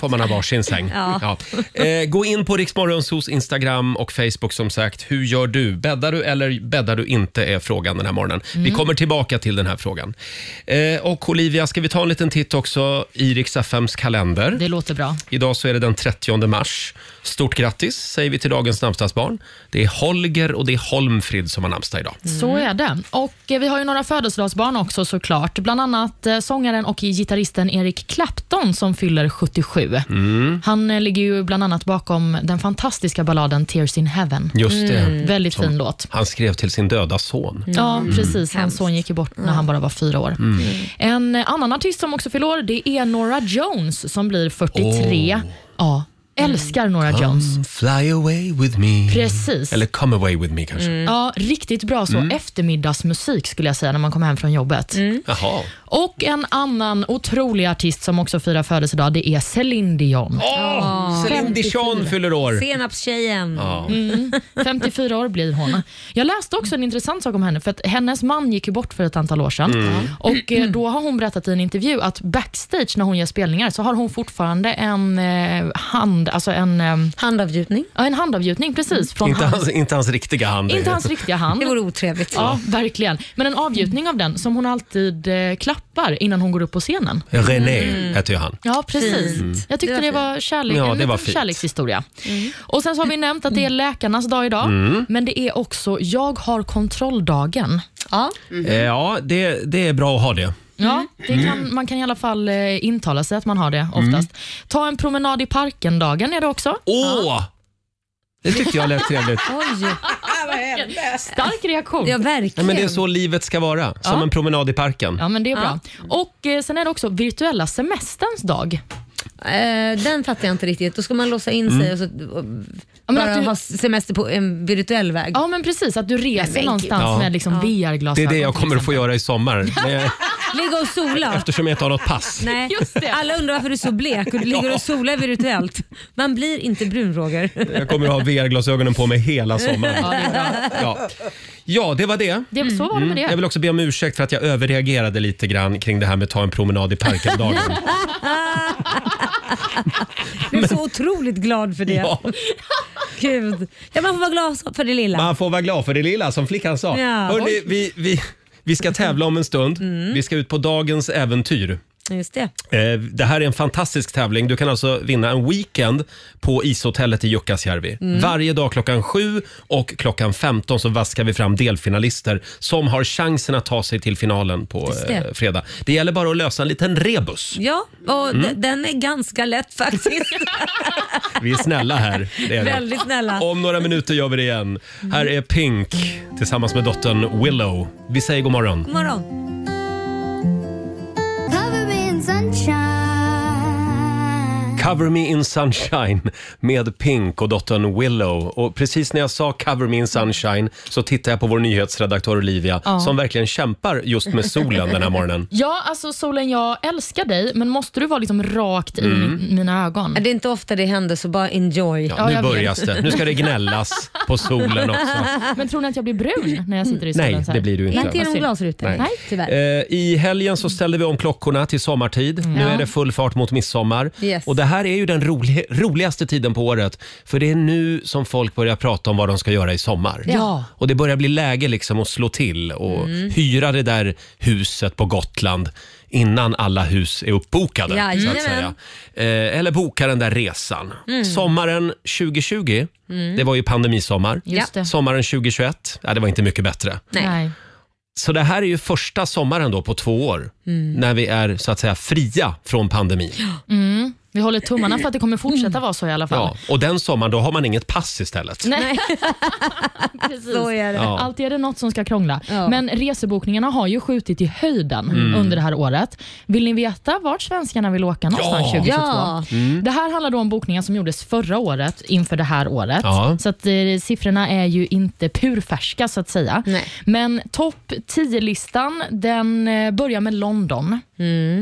A: får man ha varsin säng. Ja. Eh, gå in på Riksmorgonsos Instagram och Facebook som sagt. Hur gör du? Bäddar du eller bäddar du inte? är frågan den här morgonen. Vi kommer tillbaka till den här frågan. Eh, och Olivia, ska vi ta en liten titt också i Rix FMs kalender?
C: Det låter bra.
A: Idag så är det den 30 mars. Stort grattis säger vi till dagens namnsdagsbarn. Det är Holger och det är Holmfrid som har namnsdag idag.
C: Så är det. Och eh, Vi har ju några födelsedagsbarn också såklart. Bland annat eh, sångaren och gitarristen Eric Clapton som fyller 77. Han eh, ligger ju bland annat bakom den fantastiska balladen Tears in heaven.
A: Just det.
C: Väldigt fin låt.
A: Han skrev till sin döda son.
C: Ja, precis. Hans son gick ju bort när han bara var fyra år. En eh, annan artist som också fyller år, det är Nora Jones som blir 43. Ja, älskar Nora Jones.
A: Mm. Fly away with me.
C: Precis. Mm.
A: Eller come away with me kanske.
C: Ja, riktigt bra så. Eftermiddagsmusik skulle jag säga när man kommer hem från jobbet.
A: Jaha.
C: Och en annan otrolig artist som också firar födelsedag, det är Céline Dion.
A: Åh, Céline Dion fyller år.
B: Senapstjejen.
A: Ja.
C: 54 år blir hon. Jag läste också en intressant sak om henne, för att hennes man gick ju bort för ett antal år sedan. Och eh, då har hon berättat i en intervju att backstage när hon gör spelningar så har hon fortfarande en eh, hand, alltså en, eh,
B: Handavgjutning.
C: ja, en handavgjutning precis från
A: Inte,
C: hans,
A: hans, inte hans riktiga hand.
C: inte hans riktiga hand.
B: Det vore otrevligt.
C: Ja, verkligen. Men en avgjutning av den som hon alltid eh, klappar innan hon går upp på scenen.
A: René heter ju han.
C: Ja, precis.
B: Fint. Mm.
C: Jag tyckte
B: Det var
C: det var, kärlek,
A: Mm. Ja,
C: en
A: det
C: liten
A: var fint.
C: kärlekshistoria. Och Sen så har vi nämnt att det är
B: Mm.
C: läkarnas dag idag,
A: Mm.
C: men det är också jag har kontrolldagen.
B: Ja.
C: Mm.
A: Eh, Ja, det, det är bra att ha det.
C: Ja, det
A: Mm.
C: kan, man kan i alla fall eh, intala sig att man har det oftast. Ta en promenad i parken-dagen är det också.
A: Åh! Det tyckte jag lät trevligt.
B: Oj.
C: Stark reaktion.
B: Ja,
C: Ja.
A: Ja,
B: verkligen.
A: men det är så livet ska vara. Som
C: Ja.
A: en promenad i parken.
C: men det är bra. Och eh, Sen är det också virtuella semesterns dag.
B: Eh, den fattar jag inte riktigt. Då ska man låsa in
A: Mm.
B: sig och, så, och
C: Ja, men
B: bara
C: att du,
B: ha semester på en virtuell väg.
C: ja, men precis. Att du reser
B: gud.
C: någonstans
A: Ja.
C: med liksom VR-glasögon.
A: Det är det jag
C: till
A: kommer att
C: exempel.
A: få göra i sommar. Eh,
B: Ligga och sola.
A: Eftersom jag inte har något pass.
B: Nej.
C: Just det.
B: Alla undrar varför du är så blek och du ligger och solar virtuellt. Man blir inte brun Roger.
A: Jag kommer att ha VR-glasögonen på mig hela sommaren.
C: Ja, det är bra.
A: Ja, ja det var det.
C: Det, Så var det med det.
A: Jag vill också be om ursäkt för att jag överreagerade lite grann kring det här med att ta en promenad i parken-dagen.
B: Jag är så otroligt glad för det.
A: Ja,
B: Gud. Ja, man får vara glad för det lilla.
A: man får vara glad för det lilla som flickan sa.
B: Ja.
A: Hörrni, vi, vi, vi ska tävla om en stund. Vi ska ut på dagens äventyr.
B: Just det.
A: Eh, Det här är en fantastisk tävling. Du kan alltså vinna en weekend på ishotellet i Jukkasjärvi.
B: Mm.
A: Varje dag klockan 7 och klockan 15 så vaskar vi fram delfinalister som har chansen att ta sig till finalen på
B: Just det.
A: eh, fredag. Det gäller bara att lösa en liten rebus.
B: Ja, och d-
A: Mm.
B: den är ganska lätt faktiskt.
A: Vi är snälla här. Det är det.
B: Väldigt snälla.
A: Om några minuter gör vi det igen. Här är Pink tillsammans med dottern Willow. Vi säger god morgon.
B: God morgon.
I: Cover me in sunshine.
A: Cover Me In Sunshine med Pink och dottern Willow. Och precis när jag sa Cover Me In Sunshine så tittade jag på vår nyhetsredaktör Olivia
C: Ja.
A: som verkligen kämpar just med solen den här morgonen.
C: Ja, alltså solen, jag älskar dig, men måste du vara liksom rakt
A: Mm.
C: i min- mina ögon?
B: Det är inte ofta det händer så bara enjoy.
A: Ja, nu
C: jag vet.
A: börjar det. Nu ska det gnällas på solen också.
C: Men tror ni att jag blir brun när jag sitter i solen?
A: Nej,
C: så här?
A: det blir du
B: Inte
A: inte.
B: genom glasrutor.
A: Nej.
B: Nej, tyvärr. Mm.
A: Eh, I helgen så ställde vi om klockorna till sommartid. Nu är det full fart mot midsommar.
B: Yes.
A: Och det här är ju den roli- roligaste tiden på året. För det är nu som folk börjar prata om vad de ska göra i sommar.
C: Ja.
A: Och det börjar bli läge liksom att slå till och
B: Mm.
A: hyra det där huset på Gotland innan alla hus är uppbokade. Så att säga.
B: Jajamän. Mm.
A: Eh, eller boka den där resan. Sommaren 2020, det var ju pandemisommar.
C: Just det.
A: Sommaren 2021, ja, det var inte mycket bättre.
B: Nej.
C: Nej.
A: Så det här är ju första sommaren då på två år
B: Mm.
A: när vi är så att säga fria från pandemin.
C: Vi håller tummarna för att det kommer fortsätta vara så i alla fall.
A: Ja. Och den sommaren då har man inget pass istället.
C: Nej. Precis.
B: Så är det.
A: Ja. Alltså,
C: Alltid är det något som ska krångla.
B: Ja.
C: Men resebokningarna har ju skjutit i höjden
A: Mm.
C: under det här året. Vill ni veta vart svenskarna vill åka någonstans 2022?
B: Ja.
A: Mm.
C: Det här handlar då om bokningar som gjordes förra året inför det här året.
A: Ja.
C: Så att, eh, siffrorna är ju inte purfärska så att säga.
B: Nej.
C: Men topp 10-listan den eh, börjar med London.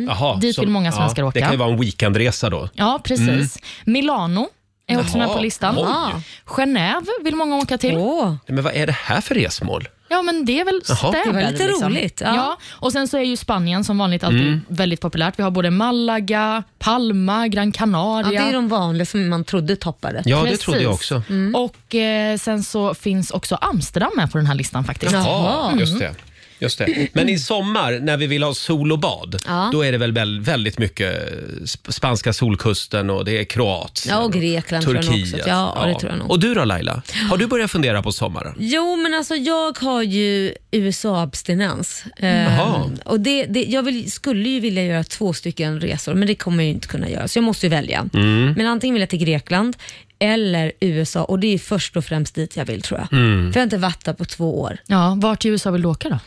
A: Jaha,
C: Dit vill många svenskar åka.
A: Det kan ju vara en weekendresa då.
C: Ja, precis. Milano är också
A: Mm. Jaha.
C: med på listan.
A: Oj.
B: Ah.
C: Genève vill många åka till.
B: Åh,
A: Men vad är det här för resmål?
C: Ja, men det är väl
A: Jaha.
C: städer.
B: Det var lite
C: liksom.
B: roligt,
C: Ja.
B: ja.
C: Och sen så är ju Spanien som vanligt alltid
A: Mm.
C: väldigt populärt. Vi har både Malaga, Palma, Gran
B: ja,
C: Canaria.
B: det är de Mm. vanliga som man trodde toppade.
A: Ja, det
C: Precis.
A: trodde jag också.
C: Och eh, sen så finns också Amsterdam med på den här listan faktiskt.
A: Ja, just det. Just det. Men i sommar när vi vill ha sol och bad,
B: Ja.
A: då är det väl väl- väldigt mycket sp- spanska solkusten och det är Kroatien
B: Ja, och Grekland tror jag nog
A: Turkiet.
B: också. Ja, det tror jag nog.
A: Och du då Laila? Har du börjat fundera på sommaren?
B: Jo, men alltså jag har ju USA-abstinens. Ehm,
A: Jaha.
B: och det, det, jag vill, skulle ju vilja göra två stycken resor, men det kommer jag ju inte kunna göra, så jag måste ju välja.
A: Mm.
B: Men antingen vill jag till Grekland eller USA och det är först och främst dit jag vill tror jag.
A: Mm.
B: För jag har inte varit där på två år.
C: Ja, vart i USA vill du åka då?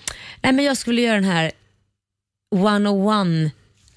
B: Nej, men jag skulle göra den här 101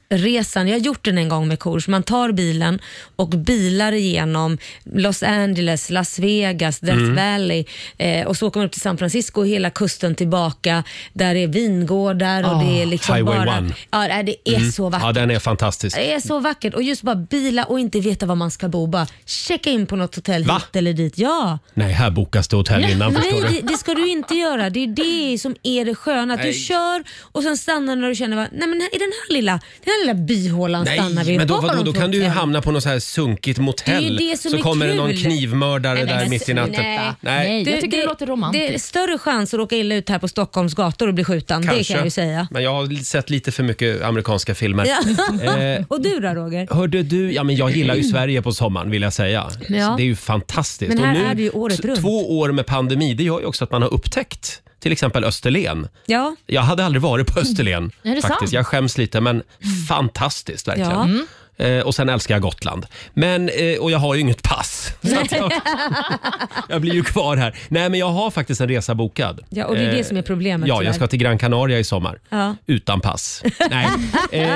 B: resan. Jag har gjort den en gång med kurs. Man tar bilen och bilar igenom Los Angeles, Las Vegas, Death
A: Mm.
B: Valley eh, och så åker man upp till San Francisco och hela kusten tillbaka. Där är vingårdar och det är liksom
A: Ah, Highway
B: bara...
A: One. Mm.
B: Ja, nej, det är så vackert.
A: Ja, den är fantastisk.
B: Det är så vackert och just bara bila och inte veta var man ska bo. Bara checka in på något hotell
A: Va?
B: hit eller dit. Ja.
A: Nej, här bokas det hotell innan förstår
B: Nej,
A: du.
B: det, det ska du inte göra. Det är det som är det sköna. Att
A: Nej.
B: du kör och sen stannar när du känner va, nej men här- i den här lilla, den här lilla byhålan stannar vi.
A: Nej, men då,
B: Var har
A: vadå,
B: de
A: då kan du ju
B: fått den?
A: hamna på något så här sunkigt motell.
B: Det är det som
A: så
B: är
A: kommer det någon
B: kul.
A: knivmördare
B: Nej,
A: där
B: men
A: mitt i
B: sluta.
A: natten.
B: Nej.
C: Nej. Jag tycker det låter romantiskt.
B: Det är större chans att råka illa ut här på Stockholms gator och bli skjuten. Det
A: kanske.
B: kan jag ju säga.
A: Men jag har sett lite för mycket amerikanska filmer.
B: Ja.
A: Eh,
B: och du då Roger?
A: Hörde du, ja men jag gillar ju Sverige på sommaren vill jag säga.
B: Ja.
A: Så Det är ju fantastiskt.
B: Men här
A: Och nu,
B: är det ju året
A: t-
B: runt.
A: Två år med pandemi, det gör ju också att man har upptäckt till exempel Österlen.
B: Ja.
A: Jag hade aldrig varit på
B: Mm.
A: Österlen.
C: Är det
A: faktiskt.
C: sant?
A: Jag skäms lite men fantastiskt verkligen.
B: Ja. Mm.
A: Eh, och sen älskar jag Gotland. Men, eh, och jag har ju inget pass. Så att jag, jag blir ju kvar här. Nej men jag har faktiskt en resa bokad. Eh,
B: Ja, och det är det som är problemet,
A: Ja,
B: tyvärr.
A: jag ska till Gran Canaria i sommar.
B: Ja.
A: Utan pass. Nej. Eh,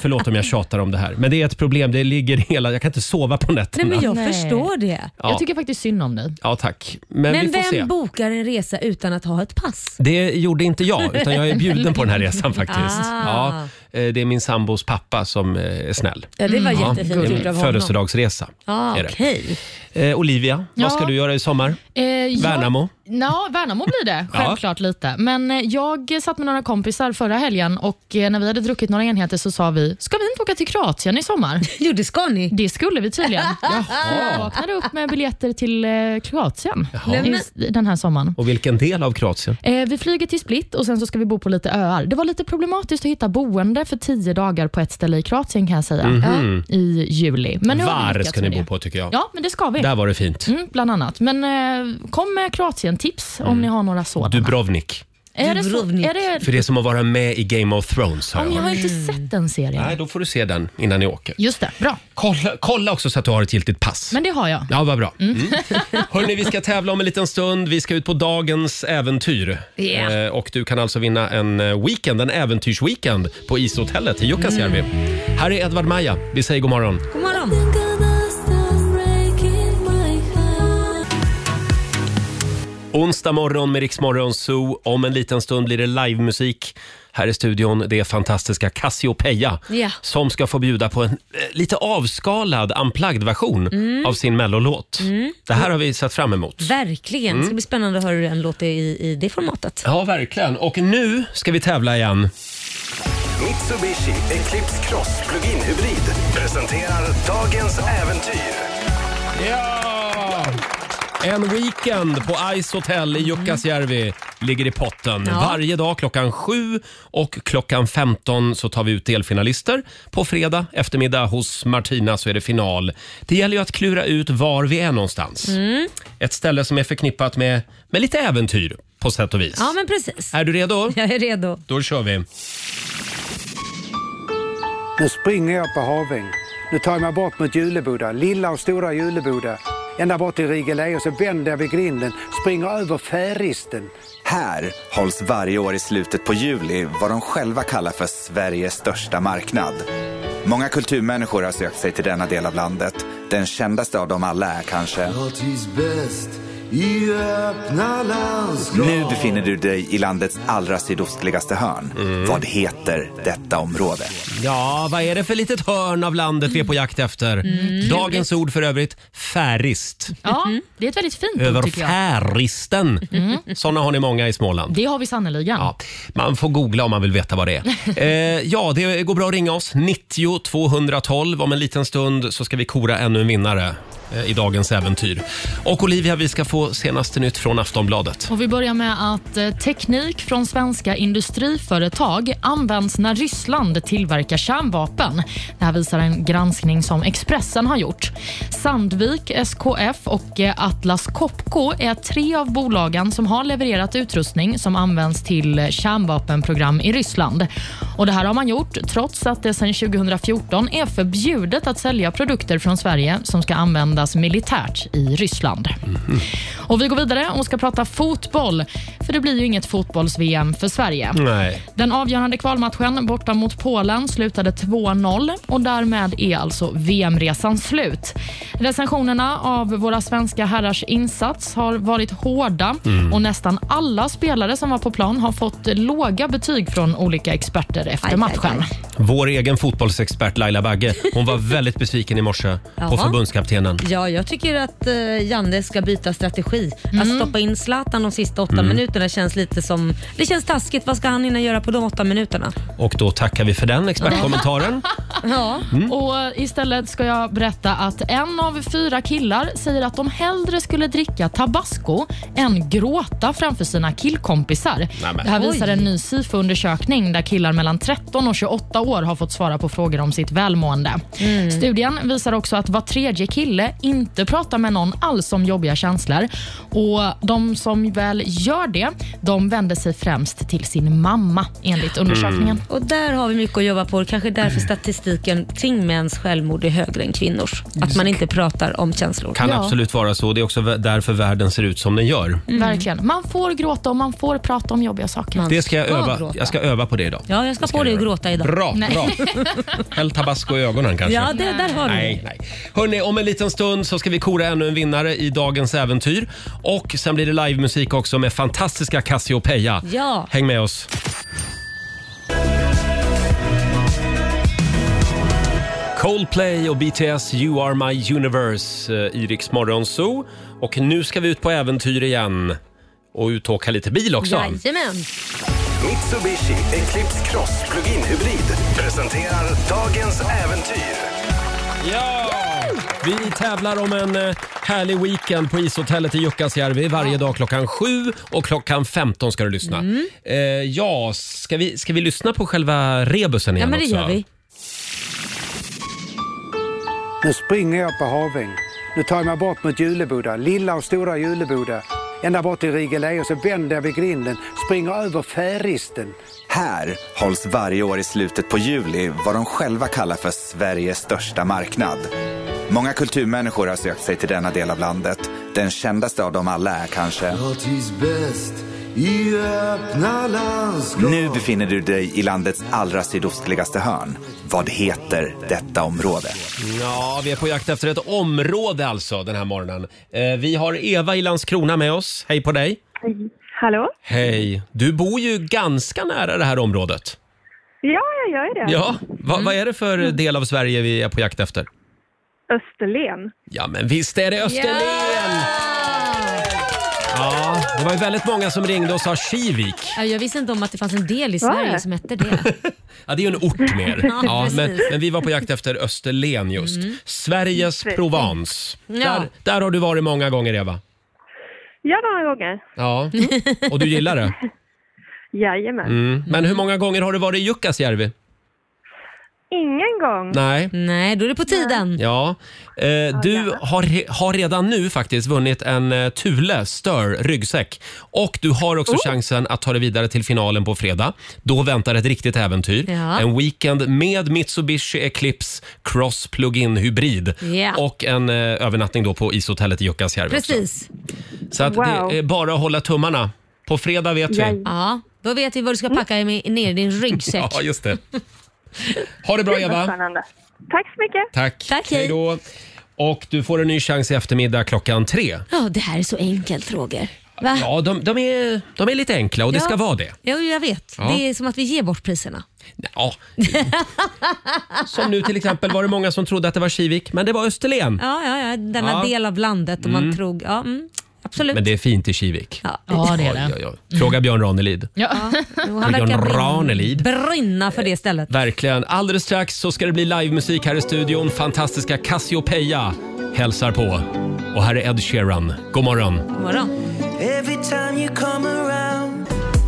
A: förlåt om jag tjatar om det här. Men det är ett problem. Det ligger hela... Jag kan inte sova på
B: Nej
A: nätterna.
B: men jag
C: Nej.
B: förstår det.
A: Ja.
C: Jag tycker faktiskt synd om dig.
A: Ja, tack. Men,
B: Men
A: vi får
B: vem
A: se.
B: bokar en resa utan att ha ett pass?
A: Det gjorde inte jag, utan jag är bjuden på den här resan faktiskt. Ja,
B: Ah.
A: eh, det är min sambos pappa som eh, är snäll.
B: Ja, det var jättefint
A: det
B: gjort
A: är
B: av
A: en
B: honom.
A: födelsedagsresa.
B: Ah,
A: är det.
B: okej.
A: Eh, Olivia,
C: Ja.
A: vad ska du göra i sommar?
C: Eh, jag-
A: Värnamo?
C: Ja, Värnamo blir det. Självklart lite. Men eh, jag satt med några kompisar förra helgen och eh, när vi hade druckit några enheter så sa vi, ska vi inte åka till Kroatien i sommar?
B: Jo, det ska ni.
C: Det skulle vi tydligen. Jag vaknade upp med biljetter till eh, Kroatien i, i den här sommaren.
A: Och vilken del av Kroatien?
C: Eh, vi flyger till Split och sen så ska vi bo på lite öar. Det var lite problematiskt att hitta boende för tio dagar på ett ställe i Kroatien kan jag säga. Ja, I juli. Men nu har vi
A: Mhm. Var
C: lyckats
A: ska ni
C: med
A: bo
C: det.
A: på tycker jag.
C: Ja, men det ska vi.
A: Där var det fint.
C: Mm, bland annat. Men eh, kom med Kroatien-tips
A: Mm.
C: om ni har några sådana.
A: Dubrovnik.
C: är det så,
B: Dubrovnik.
C: är det,
A: För det är som att vara med i Game of Thrones har
C: om jag
A: jag.
C: har inte sett den serien.
A: Mm. Nej, då får du se den innan ni åker.
C: Just det, bra.
A: Kolla, kolla också så att du har ett giltigt pass.
C: Men det har jag.
A: Ja, vad bra. Mm. Hörrni, vi ska tävla om en liten stund. Vi ska ut på dagens äventyr.
B: Yeah.
A: Eh, och du kan alltså vinna en eh, weekend, en äventyrsweekend på ishotellet i Jukkasjärvi. Här är Edvard Maja. Vi säger god morgon.
B: God morgon.
A: Onsdag morgon med Riksmorgon Zoo. Om en liten stund blir det livemusik här i studion. Det är fantastiska Cassiopeia
B: Ja.
A: som ska få bjuda på en eh, lite avskalad, unplugged-version av sin mellolåt. Det här har vi sett fram emot.
B: Verkligen. Det ska bli spännande att höra hur den låter i, i det formatet.
A: Mm. Ja, verkligen. Och nu ska vi tävla igen.
G: Mitsubishi Eclipse Cross Plug-in Hybrid presenterar dagens äventyr.
A: Ja! En weekend på Ice Hotel i Jukkasjärvi ligger i potten.
B: Ja.
A: Varje dag klockan 7 och klockan 15 så tar vi ut delfinalister. På fredag eftermiddag hos Martina så är det final. Det gäller ju att klura ut var vi är någonstans.
B: Mm.
A: Ett ställe som är förknippat med, med lite äventyr på sätt och vis.
B: Ja, men precis.
A: Är du redo?
B: Jag är redo.
A: Då kör vi.
K: Nu springer jag på Haväng. Nu tar jag mig bort mot Juleboda, lilla och stora Juleboda. Ända bort till Rigeleje och så vänder jag vid grinden, springer över Färisten.
L: Här hålls varje år i slutet på juli vad de själva kallar för Sveriges största marknad. Många kulturmänniskor har sökt sig till denna del av landet. Den kändaste av dem alla är kanske... Nu befinner du dig i landets allra sydostligaste hörn.
A: Mm.
L: Vad heter detta område?
A: Ja, vad är det för litet hörn av landet vi är på jakt efter?
B: Mm.
A: Dagens ord för övrigt, färist.
C: Ja, det är ett väldigt fint
A: Över
C: ord tycker jag. Mm.
A: färisten. Såna har ni många i Småland.
C: Det har vi sannerligen.
A: Ja, man får googla om man vill veta vad det är. Eh, ja, det går bra att ringa oss. 90 212. Om en liten stund så ska vi kora ännu en vinnare eh, i dagens äventyr. Och Olivia, vi ska få senaste nytt från Aftonbladet.
C: Och vi börjar med att eh, teknik från svenska industriföretag används när Ryssland tillverkar kärnvapen. Det här visar en granskning som Expressen har gjort. Sandvik, SKF och eh, Atlas Copco är tre av bolagen som har levererat utrustning som används till eh, kärnvapenprogram i Ryssland. Och Det här har man gjort trots att det sedan 2014 är förbjudet att sälja produkter från Sverige som ska användas militärt i Ryssland. Och Vi går vidare och ska prata fotboll, för det blir ju inget fotbolls-VM för Sverige.
A: Nej.
C: Den avgörande kvalmatchen borta mot Polen slutade 2-0 och därmed är alltså VM-resan slut. Recensionerna av våra svenska herrars insats har varit hårda och nästan alla spelare som var på plan har fått låga betyg från olika experter
B: Aj,
C: efter
B: aj,
C: matchen.
B: aj.
A: Vår egen fotbollsexpert Laila Bagge, hon var väldigt besviken i morse på
B: Jaha.
A: förbundskaptenen.
B: Ja, jag tycker att eh, Janne ska byta strategi. Att stoppa in Zlatan de sista åtta
A: Mm.
B: minuterna känns lite som... Det känns taskigt. Vad ska han hinna göra på de åtta minuterna?
A: Och då tackar vi för den expertkommentaren.
B: Ja.
C: Och istället ska jag berätta att en av fyra killar säger att de hellre skulle dricka tabasco än gråta framför sina killkompisar.
A: Nämen.
C: Det här visar
B: Oj.
C: en ny SIFO-undersökning där killar mellan 13 och 28 år har fått svara på frågor om sitt välmående. Studien visar också att var tredje kille inte pratar med någon alls om jobbiga känslor. Och De som väl gör det, de vänder sig främst till sin mamma enligt undersökningen.
B: Och där har vi mycket att jobba på. Kanske därför statistiken kring mäns självmord är högre än kvinnors. Att man inte pratar om känslor.
A: Kan
C: Ja. Mm.
A: absolut vara så. Det är också vä- därför världen ser ut som den gör.
C: Verkligen. Man får gråta och man får prata om jobbiga saker.
B: Man
A: Det ska jag öva.
B: gråta.
A: Jag ska öva på det idag.
B: Ja, jag ska på dig att
A: göra.
B: gråta idag.
A: Bra,
C: Nej.
A: bra. Häll tabasco i ögonen kanske.
B: Ja, det, där har du
A: Nej, nej. Hörrni, om en liten stund så ska vi kora ännu en vinnare i dagens äventyr. Och sen blir det livemusik också med fantastiska Cassiopeia.
B: Ja.
A: Häng med oss. Coldplay och BTS You Are My Universe eh, i Rix Morgon Zoo. Och nu ska vi ut på äventyr igen. och ut och åka lite bil också.
B: Jajamän.
G: Mitsubishi Eclipse Cross Plug-in Hybrid presenterar dagens äventyr.
A: Ja! Vi tävlar om en eh, härlig weekend på ishotellet i Jukkasjärvi varje dag klockan 7 och klockan 15 ska du lyssna.
K: Mm.
A: Eh, ja, ska vi, ska vi lyssna på själva rebusen
K: Ja,
A: igen
K: men det
A: också?
K: gör vi. Nu springer jag på Haväng. Nu tar jag mig bort mot Juleboda, lilla och stora Juleboda. Ända bort till Rigelä och så vänder jag vid grinden, springer över färisten.
L: Här hålls varje år i slutet på juli vad de själva kallar för Sveriges största marknad. Många kulturmänniskor har sökt sig till denna del av landet. Den kändaste av dem alla är kanske... Nu befinner du dig i landets allra sydostligaste hörn. Vad heter detta område?
A: Ja, vi är på jakt efter ett område alltså den här morgonen. Eh, vi har Eva i Landskrona med oss. Hej på dig!
M: Hallå?
A: Hej! Du bor ju ganska nära det här området.
M: Ja, jag gör det.
A: Ja, Mm. va, vad är det för del av Sverige vi är på jakt efter?
M: Österlen.
A: Ja, men visst är det Österlen! Ja, det var ju väldigt många som ringde och sa Kivik.
B: Ja, Jag visste inte om att det fanns en del i
M: Var
B: Sverige
M: det?
B: som hette det.
A: Ja, det är ju en ort mer.
B: Ja,
A: Ja,
B: precis.
A: men, men vi var på jakt efter Österlen just. Sveriges
M: Precis.
A: Provence.
M: Ja.
A: Där, där har du varit många gånger, Eva.
M: Ja, några gånger.
A: Ja, och du gillar det.
M: Jajamän.
A: Mm. Men hur många gånger har du varit i Jukkasjärvi?
M: Ingen gång.
A: Nej.
B: Nej, då är det på tiden.
A: Ja. Eh, du har, re- har redan nu faktiskt vunnit en eh, Thule Stör ryggsäck. Och du har också
B: Oh.
A: chansen att ta dig vidare till finalen på fredag. Då väntar ett riktigt äventyr.
B: Ja.
A: En weekend med Mitsubishi Eclipse Cross Plug-in Hybrid.
B: Ja.
A: Och en eh, övernattning då på ishotellet i Jukkasjärvi. också.
B: Precis.
A: Så att
B: Wow.
A: det är bara att hålla tummarna. På fredag vet vi.
B: Ja, då vet vi vad du ska packa med, ner i din ryggsäck.
A: Mm. Ja, just det. Ha det bra Eva.
M: Tack så mycket.
A: Tack.
B: Tack, hej.
A: hej då. Och du får en ny chans i eftermiddag klockan tre.
B: Ja, det här är så enkelt Roger. Va?
A: Ja, de, de, är, de är lite enkla och det
B: Ja.
A: ska vara det.
B: Ja, jag vet.
A: Ja.
B: Det är som att vi ger bort priserna.
A: Ja. Som nu till exempel var det många som trodde att det var Kivik, men det var Österlen.
B: Ja, ja, ja. Denna
A: Ja.
B: del av landet om man
A: Mm.
B: tror. Ja, mm, absolut.
A: Men det är fint i Kivik.
B: Ja, Ja, det är det.
A: Oj, oj, oj. Fråga Björn Ranelid.
B: Ja. Jo, han
A: Björn
B: verkar brin-
A: Ranelid.
B: brinna för det stället.
A: Verkligen. Alldeles strax så ska det bli livemusik här i studion. Fantastiska Cassiopeia hälsar på. Och här är Ed Sheeran. God morgon.
B: God morgon.
N: Every time you come around,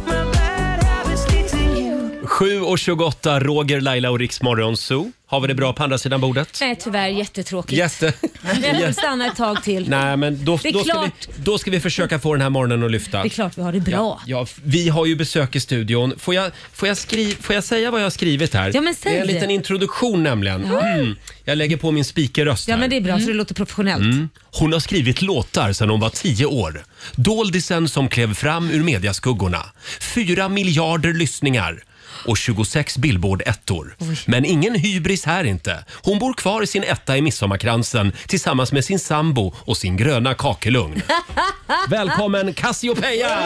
N: my bad habits lead to you.
A: 7.28, Roger, Laila och Riksmorgon Zoo. Har vi det bra på andra sidan bordet?
B: Nej, tyvärr jättetråkigt.
A: Jätte...
B: Jag
A: Jätte-
B: får stanna ett tag till.
A: Nej, men då,
B: Det är
A: då, ska vi,
B: klart.
A: då ska vi försöka få den här morgonen att lyfta.
B: Det är klart vi har det bra.
A: Ja, f- vi har ju besök i studion. Får jag, får jag, skri, får jag säga vad jag har skrivit här?
B: Ja, men säg
A: det är en
B: det.
A: liten introduktion nämligen.
B: Ja.
A: Mm. Jag lägger på min speakerröst
B: Ja,
A: här.
B: men det är bra så det låter professionellt.
A: Mm. Hon har skrivit låtar sedan hon var tio år. Doldisen som klev fram ur mediaskuggorna. Fyra miljarder lyssningar och 26 Billboard-ettor. Men ingen hybris här inte. Hon bor kvar i sin etta i midsommarkransen tillsammans med sin sambo och sin gröna kakelugn. Välkommen Cassiopeia!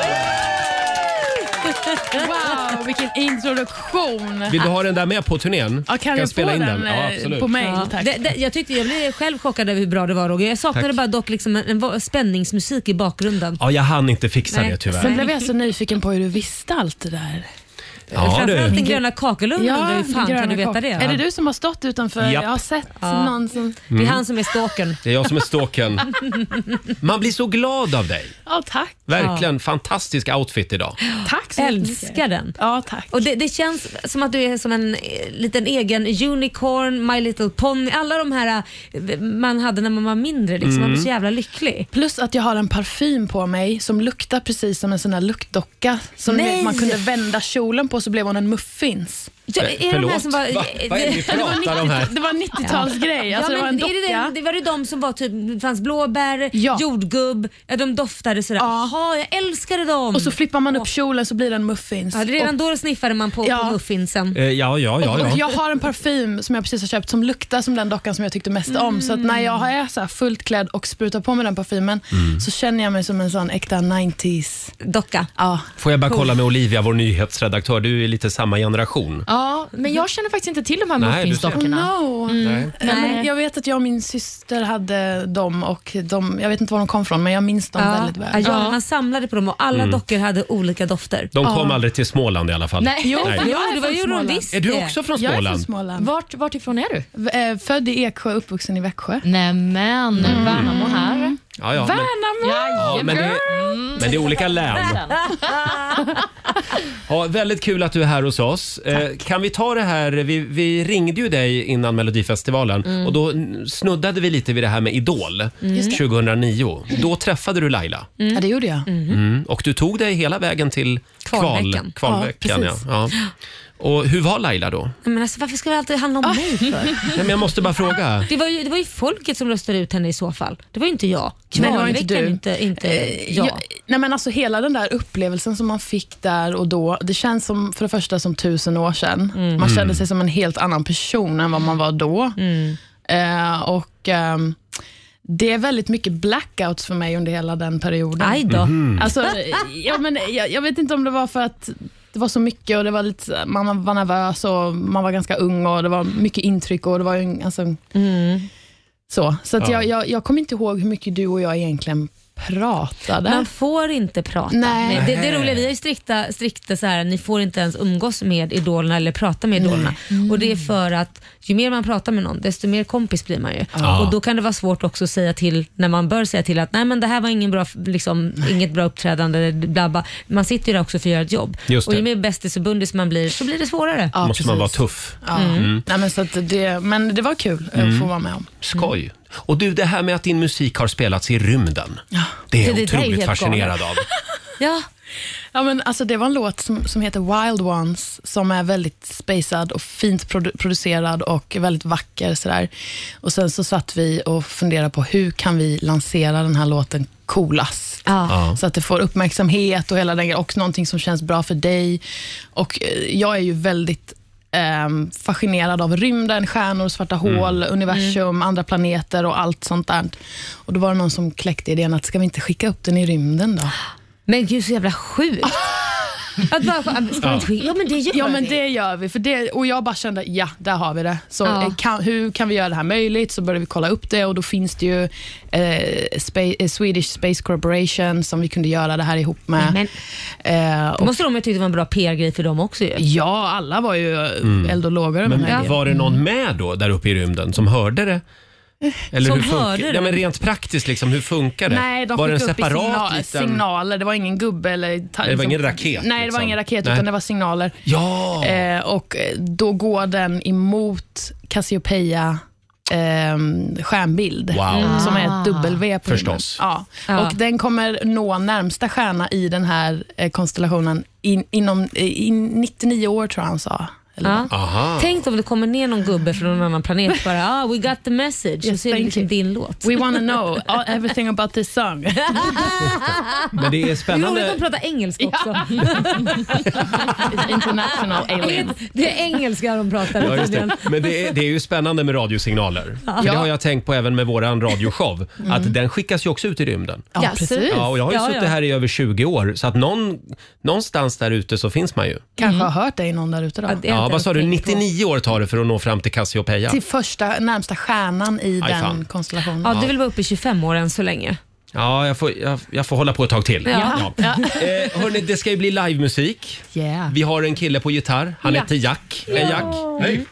C: Wow, vilken introduktion!
A: Vill du ha den där med på turnén?
C: Ja, kan jag få den,
A: Ja,
C: eh,
A: absolut.
C: på mig?
B: Ja,
C: tack.
B: det, det, jag, tyckte, jag blev själv chockad över hur bra det var Roger. Jag saknade
A: Tack.
B: bara dock liksom en, en va- spänningsmusik i bakgrunden.
A: Ja, jag hann inte fixa
B: Nej.
A: det tyvärr.
C: Sen blev jag så nyfiken på hur du visste allt det där.
A: Ja,
B: Framförallt
A: du.
B: den gröna kakelugnen undrar hur
C: den
B: fan
C: gröna
B: kan du veta
C: kak-
B: det?
C: Är det du som har stått utanför?
A: Japp.
C: Jag har sett
B: Ja.
C: någon som...
A: Det är han
B: som är stalkern.
A: Det är jag som är stalkern. Man blir så glad av dig.
C: Ja, tack.
A: Verkligen fantastisk outfit idag.
C: Tack så
B: Älskar den.
C: Ja, tack.
B: Och det, det känns som att du är som en eh, liten egen unicorn, my little pony, alla de här eh, man hade när man var mindre. Liksom. Man
C: Mm.
B: blir så jävla lycklig.
C: Plus att jag har en parfym på mig som luktar precis som en sån där luktdocka. Som ni
B: Nej!
C: vet, man kunde vända kjolen på så blev hon en muffins.
B: Ja,
A: Eh,
B: är de Förlåt? här som var- Va? Vad är det vi
C: Det var
A: pratar om här?
C: 90 det var 90-talsgrej. Alltså,
B: Ja,
C: det var
B: men
C: en
B: är det
C: docka.
B: den- det var ju de som var typ, det fanns blåbär, jordgubb, ja, de doftade sådär. Jaha, jag älskade dem.
C: Och så flippar man upp kjolen så blir det en muffins.
B: Ja, det är redan
C: och,
B: då sniffade man på, på muffinsen.
A: Eh, Ja, ja, ja.
C: och, och jag
A: ja.
C: har en parfym som jag precis har köpt som luktar som den dockan som jag tyckte mest om. Så att när jag är så här fullt klädd och sprutar på mig den parfymen så känner jag mig som en sån äkta 90s
B: docka.
C: Ja.
A: Får jag bara kolla med Olivia, vår nyhetsredaktör. Du är lite samma generation.
C: Ja, Ja, men jag känner faktiskt inte till de här
A: Nej, du ser.
C: mufflinsdockorna.
O: Oh, no.
C: Mm.
O: Eh, Men jag vet att jag och min syster hade dem och de, jag vet inte var de kom från men jag minns dem
B: Ja.
O: väldigt väl.
B: Ja, ja, man samlade på dem och alla
A: Mm.
B: dockor hade olika dofter.
A: De kom aldrig till Småland i alla fall.
C: Nej,
B: Jo, jo, det var ju de visst
A: Är du också från Småland?
O: Jag är från Småland.
C: Vart, vart ifrån är du?
O: V- eh, Född i Eksjö, uppvuxen i Växjö.
C: Nämen,
O: Mm.
C: Värnamo här.
A: Ja, ja, men-
O: Värnamo!
A: Ja, men, det, men det är olika län. Ja, väldigt kul att du är här hos oss. Eh, kan vi ta det här, vi, vi ringde ju dig innan Melodifestivalen
C: Mm.
A: och då n- snuddade vi lite vid det här med Idol
O: Mm. Just det. Mm.
A: 2009. Då träffade du Laila
O: Ja, det gjorde jag.
A: mm. och du tog dig hela vägen till kval,
B: Kvalveckan.
A: kvalveckan.
B: Ja,
A: Ja,
B: precis.
A: ja. Och hur var Laila då?
B: Nej, Men alltså, varför ska det alltid handla
O: Ah.
B: om mig för?
A: Nej, men jag måste bara fråga.
B: Det var, ju, det var ju folket som röstade ut henne i så fall. Det var ju inte jag.
O: Nej, det var inte
B: Kvalveckan,
O: du.
B: inte, inte
O: Eh,
B: jag.
O: jag- Nej, men alltså, hela den där upplevelsen som man fick där och då, det känns som för det första som tusen år sedan. Man kände
A: Mm.
O: sig som en helt annan person än vad man var då. Eh, och ehm, Det är väldigt mycket blackouts för mig under hela den perioden.
B: Aj då. Mhm.
O: Alltså, ja, men, jag, jag vet inte om det var för att det var så mycket och det var lite, man var nervös och man var ganska ung och det var mycket intryck. och det var ju en- alltså, Så, så att
B: Ja.
O: jag, jag, jag kommer inte ihåg hur mycket du och jag egentligen pratade.
B: Man får inte prata.
O: Nej.
B: Det, det är roliga, vi är ju strikta, strikta så här, ni får inte ens umgås med idolerna eller prata med idolerna. Och det är för att ju mer man pratar med någon, desto mer kompis blir man ju.
N: Ja.
B: Och då kan det vara svårt också att säga till, när man bör säga till att nej men det här var ingen bra, liksom, inget bra uppträdande, bla bla. Man sitter ju där också för att göra ett jobb.
A: Just
B: och ju
A: det.
B: mer bästis och bundis man blir, så blir det svårare.
A: Måste man vara tuff?
O: Ja.
A: Mm.
O: Nej, men, så att det, men det var kul
A: Mm.
O: att få vara med om.
A: Skoj. Och du, det här med att din musik har spelats i rymden. Det är
O: Det-
A: jag
O: det där är
A: otroligt
O: helt
A: fascinerad
O: galet.
A: av.
B: Ja.
O: Ja, men alltså, det var en låt som, som heter Wild Ones, som är väldigt spacad och fint produ- producerad och väldigt vacker. Sådär. Och Sen så satt vi och funderade på hur kan vi lansera den här låten coolast?
N: Ja.
O: Så att det får uppmärksamhet och hela den grejen, och någonting som känns bra för dig. Och eh, Jag är ju väldigt ehm, fascinerad av rymden, stjärnor, svarta
N: Mm.
O: hål, universum, andra planeter och allt sånt där. Och Då var det någon som kläckte idén att ska vi inte skicka upp den i rymden då?
B: Men gud, så jävla sjukt. Att bara, ska man
O: Ja.
B: inte skicka? Ja men det gör
O: Ja, men
B: vi.
O: det gör vi. För det, och jag bara kände, ja, där har vi det. Så
B: Ja.
O: eh, kan, hur kan vi göra det här möjligt? Så började vi kolla upp det och då finns det ju eh, Spa- eh, Swedish Space Corporation som vi kunde göra det här ihop med.
B: Men,
O: eh,
B: Då
O: och,
B: måste de ju tycka det var en bra PR-grej för dem också ju.
O: ja, alla var ju mm. eld och lågor över den här
A: Men
O: idén.
A: var det någon med då där uppe i rymden som hörde det?
O: Som
A: hur funkar-
O: hörde det?
A: Ja, men rent praktiskt, liksom, hur funkar det?
O: Nej, de
A: var det en
O: skickade upp i
A: separat
O: signal,
A: liten...
O: signaler. Det var ingen gubbe eller... ta-
A: Det var ingen raket,
O: Nej, det var
A: liksom.
O: ingen raket,
A: Nej.
O: utan det var signaler.
A: Ja!
O: Eh, och eh, då går den emot Cassiopeia eh, stjärnbild,
N: Wow.
O: som är ett W på
N: Förstås.
O: himlen. Ja.
N: Ja.
O: Och den kommer nå närmsta stjärna i den här eh, konstellationen in, inom eh, in 99 år, tror jag han sa. Eller
B: Ja.
O: vad?
B: Tänk om det kommer ner någon gubbe från någon annan planet bara ah, “We got the message” och så är det
O: thank
B: liksom din låt.
O: We wanna know all- everything about this song.
A: Men det är
B: Det är roligt
A: spännande.
B: att prata engelska också.
O: It's international alien.
B: Det är engelska de pratar
A: Ja, just
B: tydligen.
A: det. Men det är, det är ju spännande med radiosignaler.
B: Ja.
A: För det har jag tänkt på även med våran radioshow.
B: Mm.
A: Att den skickas ju också ut i rymden.
B: Ja, Jaså? precis.
A: Ja, och jag har ju
O: Ja,
A: suttit
O: ja.
A: här i över 20 år, så att någon, någonstans där ute så finns man ju.
O: Kanske har hört dig någon där ute då.
A: Ja, vad sa du? 99 år tar det för att nå fram till Cassiopeia?
O: Till första, närmsta stjärnan i
A: Aj,
O: den
A: fan.
O: konstellationen.
A: Ja, du vill
B: vara uppe i 25 år än så länge.
A: Ja, jag får, jag, jag får hålla på ett tag till.
B: Ja. Ja.
A: Eh, hörni, det ska ju bli livemusik.
O: Yeah.
A: Vi har en kille på gitarr. Han
O: Ja.
A: heter Jack. Hej
O: Ja.
A: Jack. Hej.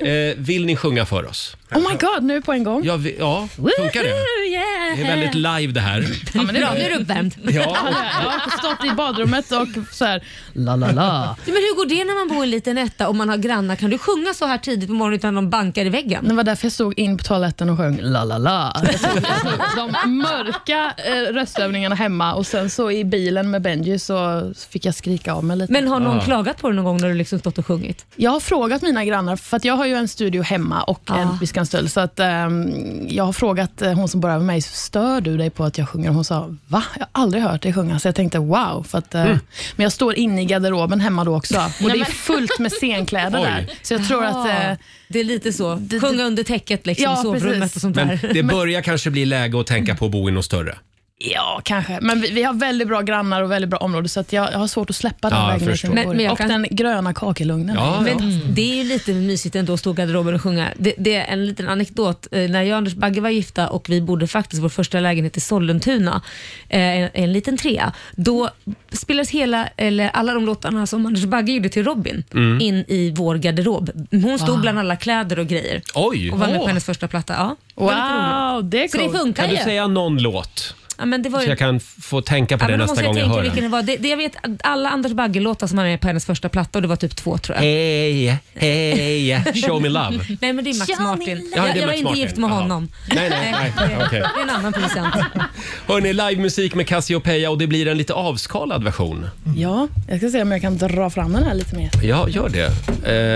A: Eh, vill ni sjunga för oss?
O: Oh my god, nu på en gång.
A: Ja, vi, ja funkar det?
O: Oh,
A: Det är väldigt live det här.
O: Ja, men det är bra.
B: Nu är du uppvärmd.
A: Ja.
O: jag har stått i badrummet och så här... La, la, la.
B: Men hur går det när man bor i en liten etta och man har grannar? Kan du sjunga så här tidigt på morgonen utan de bankar i väggen?
O: Det var därför jag stod in på toaletten och sjöng la la la. Jag tog- jag tog De mörka eh, röstövningarna hemma och sen så i bilen med Benji så fick jag skrika av mig lite.
B: Men har
A: Ah.
B: någon klagat på dig någon gång när du liksom stått och sjungit?
O: Jag har frågat mina grannar, för att jag har ju en studio hemma och en Viskanstull, så att ehm, jag har frågat eh, hon som bor över mig, stör du dig på att jag sjunger? Hon sa, va? Jag har aldrig hört dig sjunga, så jag tänkte wow. För att, eh,
N: Mm.
O: Men jag står inne i garderoben hemma då också och det är
N: men-
O: fullt med scenkläder
A: Oj.
O: där. Så jag tror att...
B: Jaha.
O: eh,
B: Det är lite så. Sjunga under täcket liksom,
O: Ja,
B: i sovrummet
O: precis.
B: och sånt
A: Men
B: där.
A: det börjar kanske bli läge att tänka på att bo i något större.
O: Ja, kanske. Men vi, vi har väldigt bra grannar och väldigt bra område, så att jag, jag har svårt att släppa
A: Ja,
O: den
A: jag
O: lägenheten.
A: förstår.
O: vi
A: Men-
O: bor i.
B: men jag
O: och
B: kan-
O: den gröna kakelugnen.
B: Men det är ju lite mysigt ändå att stå i garderoben och sjunga. Det, det är en liten anekdot. Eh, När jag och Anders Bagge var gifta och vi bodde faktiskt vår första lägenhet i Sollentuna, eh, en, en liten trea, då spelades hela, eller alla de låtarna som Anders Bagge gjorde till Robin
A: Mm.
B: in i vår garderob. Hon stod
A: Wow.
B: bland alla kläder och grejer
A: Oj!
B: och var med på
A: Ah. Åh.
B: hennes första platta. Ja.
A: Wow,
B: det är Så det funkar
A: Kan
B: ju.
A: du säga någon låt?
B: ja, men det var
A: Så
B: ju...
A: jag kan f- få tänka på
B: Ja,
A: det
B: men då
A: nästa
B: måste jag
A: gång jag
B: tänka
A: hör
B: vilken det
A: den.
B: var. Det, det jag vet att alla Anders Bagge-låtar som var med på hennes första platta och det var typ två tror jag.
A: Hey, hey, show me love.
B: Nej men det är Max
N: Show me
B: Martin.
N: love.
A: Ja, det
B: Jag,
A: är
B: jag var
A: Max
B: inte
A: Martin.
B: gift med
A: Jaha.
B: honom.
A: Nej, nej, nej.
B: det-
A: Okej.
B: Det är en annan producent.
A: Hörni, livemusik med Cassiopeia och det blir en lite avskalad version.
O: Ja, jag ska se om jag kan dra fram den här lite mer.
A: Ja, gör det.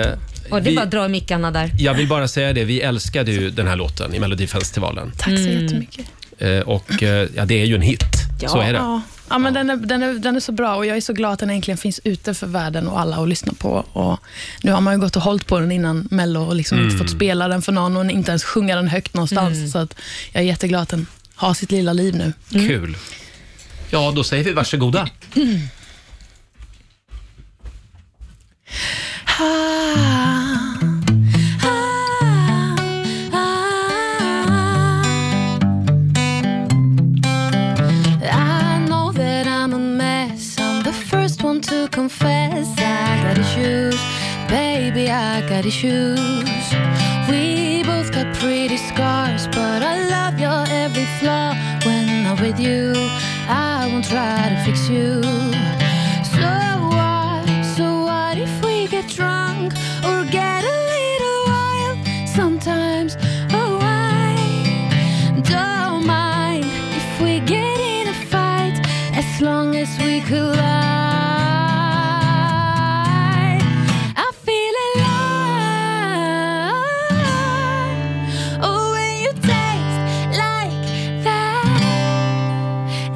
A: Eh,
B: Och det är
A: vi-
B: bara att dra i mickarna där.
A: Jag vill bara säga det, vi älskade ju den här låten i Melodifestivalen.
O: Tack
B: Mm.
O: så jättemycket.
A: Eh, och eh, ja, det är ju en hit. Så är det.
O: Ja, Mm. ja men den, är, den, är, den är så bra och jag är så glad att den äntligen finns ute för världen och alla att lyssna på. Och nu har man ju gått och hållit på den innan Mello och liksom
A: Mm.
O: inte fått spela den för någon och inte ens sjunga den högt någonstans.
I: Mm.
O: Så att jag är jätteglad att den har sitt lilla liv nu.
A: Kul. Ja, då säger vi varsågoda.
I: I know that I'm a mess. I'm the first one to confess. I got issues, baby, I got issues. We both got pretty scars, but I love your every flaw. When I'm with you, I won't try to fix you. So what? So what if we get drunk or get a little wild? Sometimes, oh, I don't mind if we get in a fight as long as we collide. I feel alive. Oh, when you taste like that,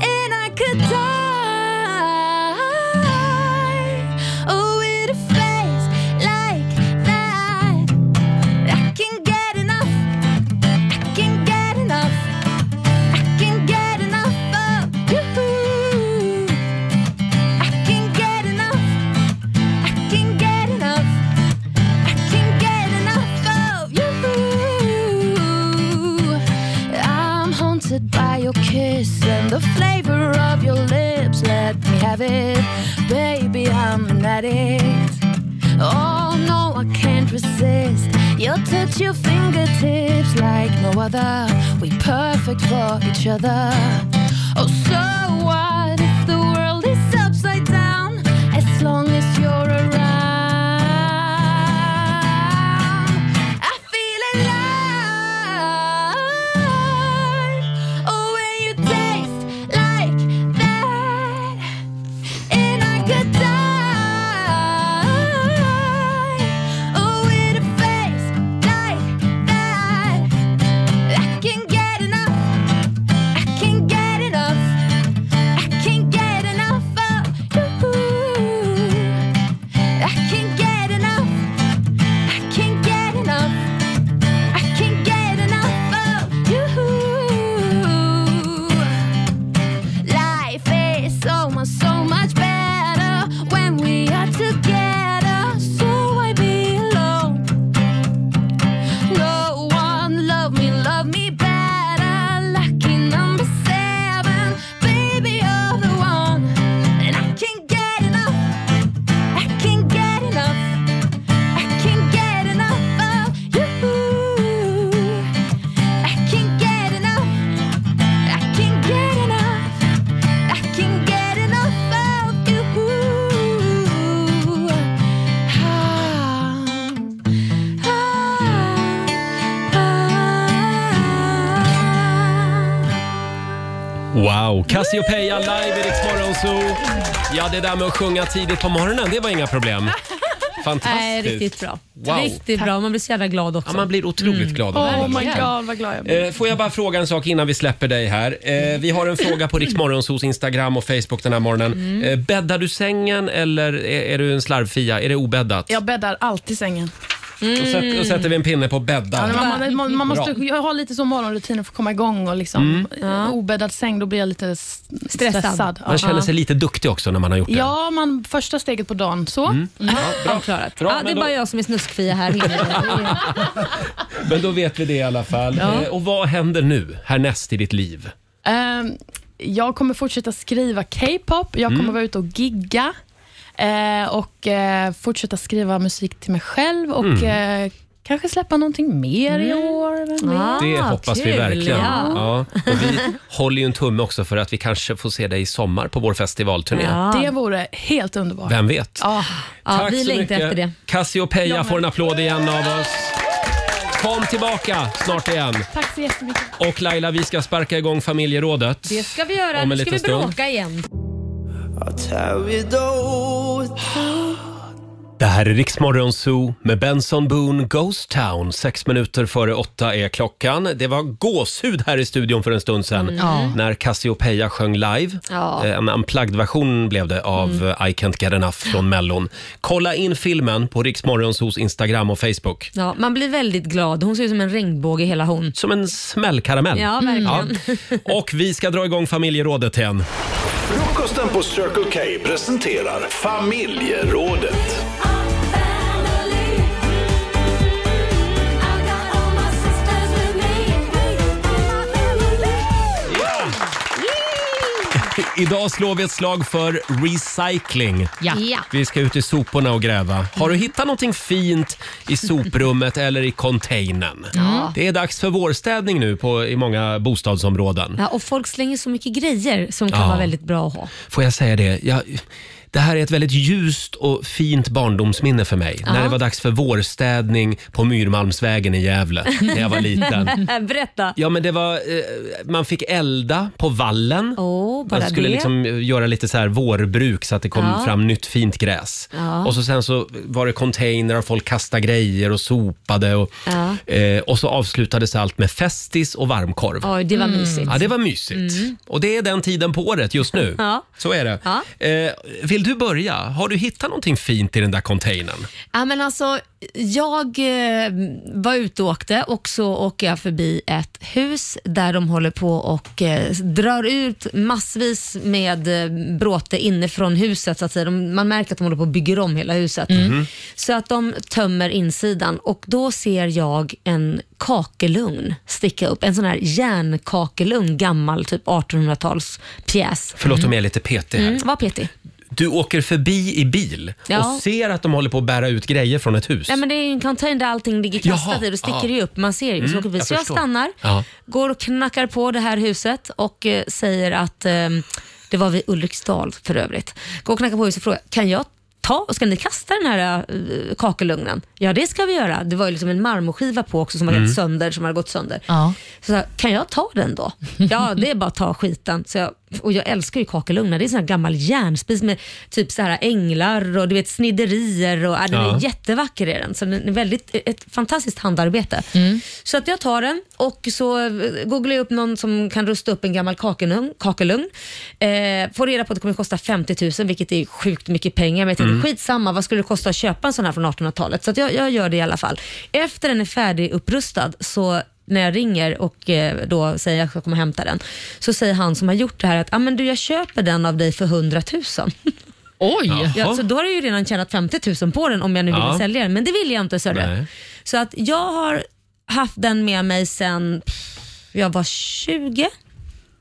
I: and I could die. Oh, with a face like that, I can get enough. I can get enough. I can get enough of you. I can get enough. I can get enough. I can get enough of you. I'm haunted by your kiss and the flavor of your lips. Let me have it, baby. I'm an addict. Oh no, I can't resist. Your touch, your fingertips like no other. We perfect for each other. Oh, so what if the world is upside down? As long as you're around, I feel alive. Oh, when you taste like that, and I could die. Oh, with a face like that, I can get enough. I can get enough. I can get enough of you. I can get enough. I can get enough. I can get enough of you. Life is so much, so much better when we are together. So I be alone. No one love me, love me better. Lucky number seven, baby, you're the one. And I can get enough, I can get enough, I can get enough of you. I can get enough, I can get enough, I can get enough of you. Ah,
A: Wow! Cassiopeia live i Rix Morgon Zoo. Ja, det där med att sjunga tidigt på morgonen, det var inga problem. Fantastiskt.
B: Nej, riktigt bra. Mm.
A: Wow.
B: Riktigt bra. Man blir så jävla glad också.
A: Ja, man blir otroligt glad. av
B: Oh
A: det.
O: Oh vad glad jag
A: Eh, Får jag bara fråga en sak innan vi släpper dig här. Eh, Vi har en fråga på Riksmorgonsos Instagram och Facebook den här morgonen.
O: Mm.
A: Eh, Bäddar du sängen eller är är du en slarvfia? Är det obäddat?
O: Jag bäddar alltid sängen.
A: Då, sätter, då sätter vi en pinne på bädda.
O: Ja, men man, man, man måste,
A: Bra.
O: jag har lite så morgonrutiner för att komma igång och liksom, obäddad säng, då blir jag lite s- stressad. Ja.
A: Man känner sig lite duktig också när man har gjort det.
O: Ja, man, första steget på dagen. Så.
A: Mm.
O: Mm.
A: Bra. Bra,
B: Ja, det
A: men
B: är
A: då-
B: bara jag som är snuskfia här. Det är-
A: Men då vet vi det i alla fall.
O: Ja.
A: Eh, Och vad händer nu härnäst i ditt liv?
O: Ehm, jag kommer fortsätta skriva K-pop, jag kommer
A: Mm.
O: vara ute och gigga eh, och eh, fortsätta skriva musik till mig själv och
A: Mm.
O: eh, kanske släppa någonting mer i år. vem vet?
A: det hoppas vi verkligen. Ja.
O: Ah, Ja.
A: Och vi håller ju en tumme också för att vi kanske får se dig i sommar på vår festivalturné.
O: Det vore helt underbart. Ah.
A: Vem vet?
O: Ja.
A: Tack så mycket. Cassiopeia får en applåd igen av oss. Kom tillbaka snart igen.
O: Tack så jättemycket.
A: Och Laila, vi ska sparka igång familjerådet.
B: Det ska vi göra.
A: Om en
B: Nu ska vi
A: liten stund.
B: bråka igen.
A: Det här är Riksmorgon Zoo med Benson Boone Ghost Town. Sex minuter före åtta är klockan. Det var gåshud här i studion för en stund sedan
B: Mm. Ja.
A: när Cassiopeia sjöng live. Eh,
B: Ja. Mm.
A: En unplugged-version blev det av eh, I Can't Get Enough från Mellon. Kolla in filmen på Riksmorgon Zoos Instagram och Facebook.
B: Ja, man blir väldigt glad. Hon ser ut som en regnbåge hela hon. Mm.
A: Som en smällkaramell.
B: Ja, verkligen.
A: Ja. Och vi ska dra igång familjerådet igen.
G: Frukosten på Circle K presenterar familjerådet.
A: Idag slår vi ett slag för recycling.
N: Ja. Ja.
A: Vi ska ut i soporna och gräva. Har du hittat någonting fint i soprummet eller i containern?
B: Ja.
A: Det är dags för vårstädning nu på, i många bostadsområden.
B: Ja, och folk slänger så mycket grejer som kan
A: Ja.
B: vara väldigt bra att ha.
A: Får jag säga det? Jag, det här är ett väldigt ljust och fint barndomsminne för mig.
B: Ja.
A: När det var dags för vårstädning på Myrmalmsvägen i Gävle när jag var liten.
B: Berätta.
A: Ja, men det var, eh, man fick elda på vallen.
B: Oh, bara
A: man skulle
B: det.
A: liksom eh, göra lite så här vårbruk så att det kom
B: Ja.
A: fram nytt fint gräs.
B: Ja.
A: Och så sen så var det container och folk kastade grejer och sopade. Och,
B: Ja.
A: eh, och så avslutades allt med festis och varmkorv.
B: Oj, det var Mm. mysigt.
A: Ja, det var mysigt. Och det är den tiden på året just nu.
B: Ja.
A: Så är det.
B: Ja.
A: Eh, vill du börja? Har du hittat någonting fint i den där containern?
B: Ja, men alltså, jag eh, var ute och åkte och så åker jag förbi ett hus där de håller på och eh, drar ut massvis med eh, bråte inifrån huset. Så att säga. De, man märker att de håller på och bygger om hela huset.
N: Mhm.
B: Så att de tömmer insidan och då ser jag en kakelugn sticka upp. En sån här järnkakelugn, gammal typ 1800-tals pjäs.
A: Förlåt om jag är lite petig här.
B: Mm, var petig.
A: Du åker förbi i bil
B: Ja.
A: och ser att de håller på att bära ut grejer från ett hus.
B: Nej, men det är ju en container där allting ligger kastat
A: Jaha,
B: i. Då sticker
A: ja.
B: det ju upp. Man ser ju.
A: Mm,
B: så, åker vi.
A: jag
B: så jag
A: förstår.
B: stannar,
A: Ja.
B: går och knackar på det här huset och eh, säger att eh, det var vid Ulriksdal för övrigt. Går och knackar på huset och frågar, kan jag ta, ska ni kasta den här eh, kakelugnen? Ja, det ska vi göra. Det var ju liksom en marmorskiva på också som hade
N: Mm.
B: gått sönder. Som hade gått sönder.
N: Ja.
B: Så jag, kan jag ta den då? Ja, det är bara att ta skiten. Så jag, och jag älskar ju kakelugnar. Det är sån här gammal järnspis med typ så här änglar och du vet sniderier. Och, ja, den
N: Ja.
B: är jättevacker är den. Så den är väldigt, ett fantastiskt handarbete.
N: Mm.
B: Så att jag tar den och så eh, googlar jag upp någon som kan rusta upp en gammal kakelugn. kakelugn. Eh, får reda på att det kommer kosta 50 000 vilket är sjukt mycket pengar. Men jag tänkte
N: Mm.
B: skitsamma, vad skulle det kosta att köpa en sån här från 1800-talet? Så att jag, jag gör det i alla fall. Efter den är färdigupprustad så när jag ringer och eh, då säger jag att jag kommer hämta den, så säger han som har gjort det här att ah, men du, jag köper den av dig för 100 000.
N: Oj!
B: Ja, så då har jag ju redan tjänat 50 000 på den om jag nu ville
N: Ja.
B: sälja den, men det vill jag inte. Så, är det.
N: Nej.
B: så att jag har haft den med mig sedan pff, jag var 20.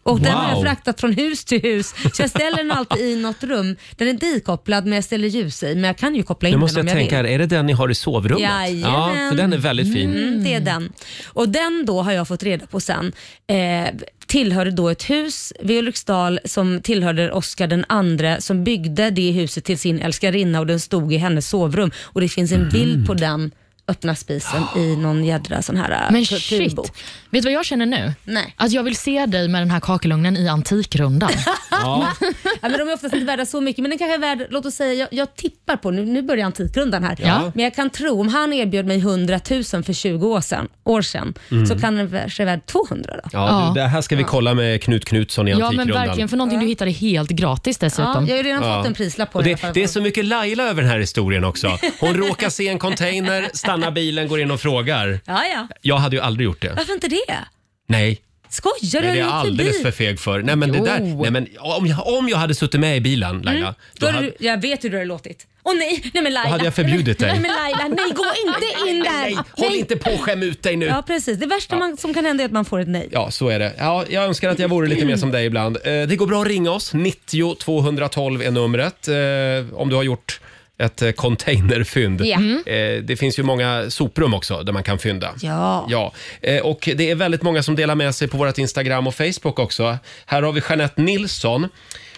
B: Och Den har jag
N: Wow.
B: fraktat från hus till hus. Så jag ställer den alltid i något rum. Den är inte ikopplad men jag ställer ljus i. Men jag kan ju koppla in
A: Nu måste
B: den
A: jag
B: om jag,
A: tänka, här,
B: vill.
A: är det den ni har i sovrummet?
B: Jajamän.
A: Ja, för den är väldigt fin.
B: Mm, det är den. Och den då har jag fått reda på sen eh, tillhörde då ett hus vid Ulriksdal som tillhörde Oscar den andre som byggde det huset till sin älskarinna och den stod i hennes sovrum. Och det finns
A: Mm.
B: en bild på den öppna spisen i någon jädra sån här eh,
C: Men shit,
B: kulturbok.
C: vet du vad jag känner nu?
B: Nej.
C: Att jag vill se dig med den här kakelugnen i Antikrundan.
A: Ja.
B: Ja, men de är oftast inte värda så mycket, men den kanske är värd, låt oss säga, jag, jag tippar på, nu, nu börjar Antikrundan här,
A: Ja.
B: men jag kan tro, om han erbjöd mig 100 000 för 20 år sedan, år sedan
A: Mm.
B: så kan den kanske är värd 200 då.
A: Ja, du, det här ska vi kolla med Knut Knutsson i
C: Ja, men
A: Antikrundan.
C: verkligen. För någonting du hittade helt gratis dessutom.
B: Ja, jag har ju redan
A: Ja.
B: fått en prislapp på
A: Och
B: den. i
A: det,
B: alla fall.
A: det är så mycket Laila över den här historien också. Hon råkar se en container, stannar bilen, går in och frågar.
B: Ja, ja.
A: Jag hade ju aldrig gjort det.
B: Varför inte det?
A: Nej.
B: Skojar
A: Nej,
B: du?
A: det är
B: Jag
A: jag
B: gick
A: alldeles
B: förbi.
A: för feg för. Nej, men det där,
B: Jo.
A: nej, men om, jag, om jag hade suttit med i bilen, Laila,
B: Mm.
A: då,
B: Då hade...
A: hade,
B: du- Jag vet hur du hade låtit. Åh nej, nej men Laila.
A: hade jag förbjudit dig.
B: Nej men Laila, nej gå inte in där. Ah, Nej,
A: Håll inte på och skäm ut dig nu.
B: Ja
A: Ja.
B: precis, det värsta man, som kan hända är att man får ett nej.
A: så är det. Ja, jag önskar att jag vore lite mer som dig ibland. Eh, det går bra att ringa oss. 90 212 är numret eh, om du har gjort ett eh, containerfynd.
B: Ja. Mm.
A: Eh, det finns ju många soprum också där man kan fynda.
B: Ja.
A: Ja, eh, och det är väldigt många som delar med sig på vårt Instagram och Facebook också. Här har vi Jeanette Nilsson.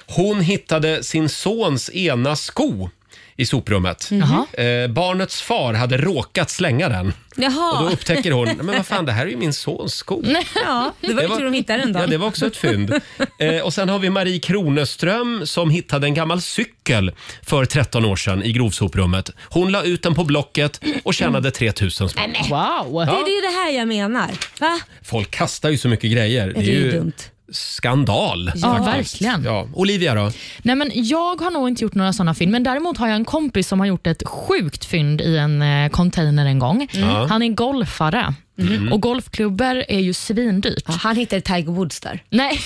A: Hon hittade sin sons ena sko i soprummet.
B: Mhm.
A: Eh, barnets far hade råkat slänga den.
B: Jaha.
A: Och då upptäcker hon, "Nej, men vad fan, det här är ju min sons sko.
B: Ja, det var ju tur de hittade den då.
A: Ja, det var också ett fynd. Eh, och sen har vi Marie Kroneström som hittade en gammal cykel för 13 år sedan i grovsoprummet. Hon la ut den på Blocket och tjänade 3000 spänn.
B: Nej, Mm. men.
C: Wow.
B: Det
A: Ja.
B: är ju det här jag menar. Va?
A: Folk kastar ju så mycket grejer.
B: det är ju
A: ju
B: dumt.
A: skandal.
C: Ja,
A: faktiskt.
C: verkligen.
A: Ja. Olivia då?
C: Nej, men jag har nog inte gjort några sådana fynd, men däremot har jag en kompis som har gjort ett sjukt fynd i en eh, container en gång.
B: Mm. Ja.
C: Han är golfare
B: Mm.
C: och golfklubbor är ju svindyrt.
B: han hittade Tiger Woods där.
C: Nej,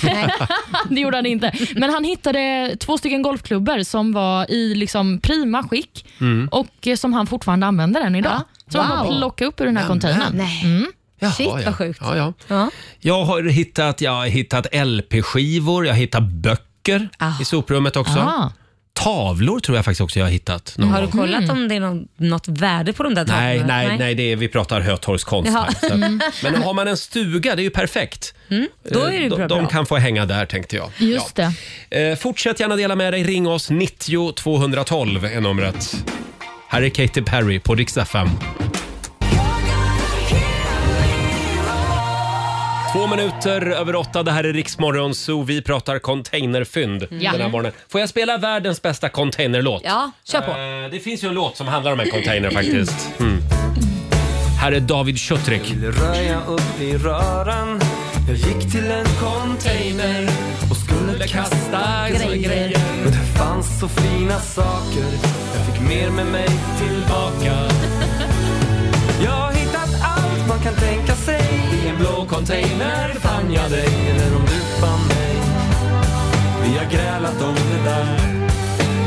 C: det gjorde han inte. Men han hittade två stycken golfklubbor som var i liksom prima skick
A: Mm.
C: och eh, som han fortfarande använder än idag. Som han
A: Wow.
C: bara plockade upp ur den här containern.
B: Nej.
C: Mm.
A: Shit, vad ja. sjukt. Ja, ja. Jag har hittat, jag har hittat LP-skivor, jag har hittat böcker i soprummet också.
B: Ah.
A: Tavlor tror jag faktiskt också jag har hittat. Någon
B: Har du
A: gång.
B: kollat om det är någon, något värde på de där
A: Nej,
B: tavlorna?
A: nej, nej, det är, vi pratar hötorgskonst
B: Jaha.
A: här. Så.
B: Mm.
A: att- Men har man en stuga, det är ju perfekt.
B: Mm, då är det ju
A: Eh,
B: bra.
A: de, de kan få hänga där tänkte jag.
C: Just det.
A: Eh, fortsätt gärna dela med dig. Ring oss. 90 212 är numret. Här är Katy Perry på Rix FM. Två minuter över åtta. Det här är Riksmorgon Zoo. Vi pratar containerfynd
B: Ja.
A: den här morgonen. Får jag spela världens bästa containerlåt?
B: Ja, kör på.
A: Eh, Det finns ju en låt som handlar om en container faktiskt. Mm. Här är David Schutrik.
N: Röja upp i röran Jag gick till en container och skulle kasta grejer Men det fanns så fina saker Jag fick mer med mig tillbaka Jag har hittat allt man kan tänka sig I en blå container fann jag dig Eller om du fann mig Vi har grälat om det där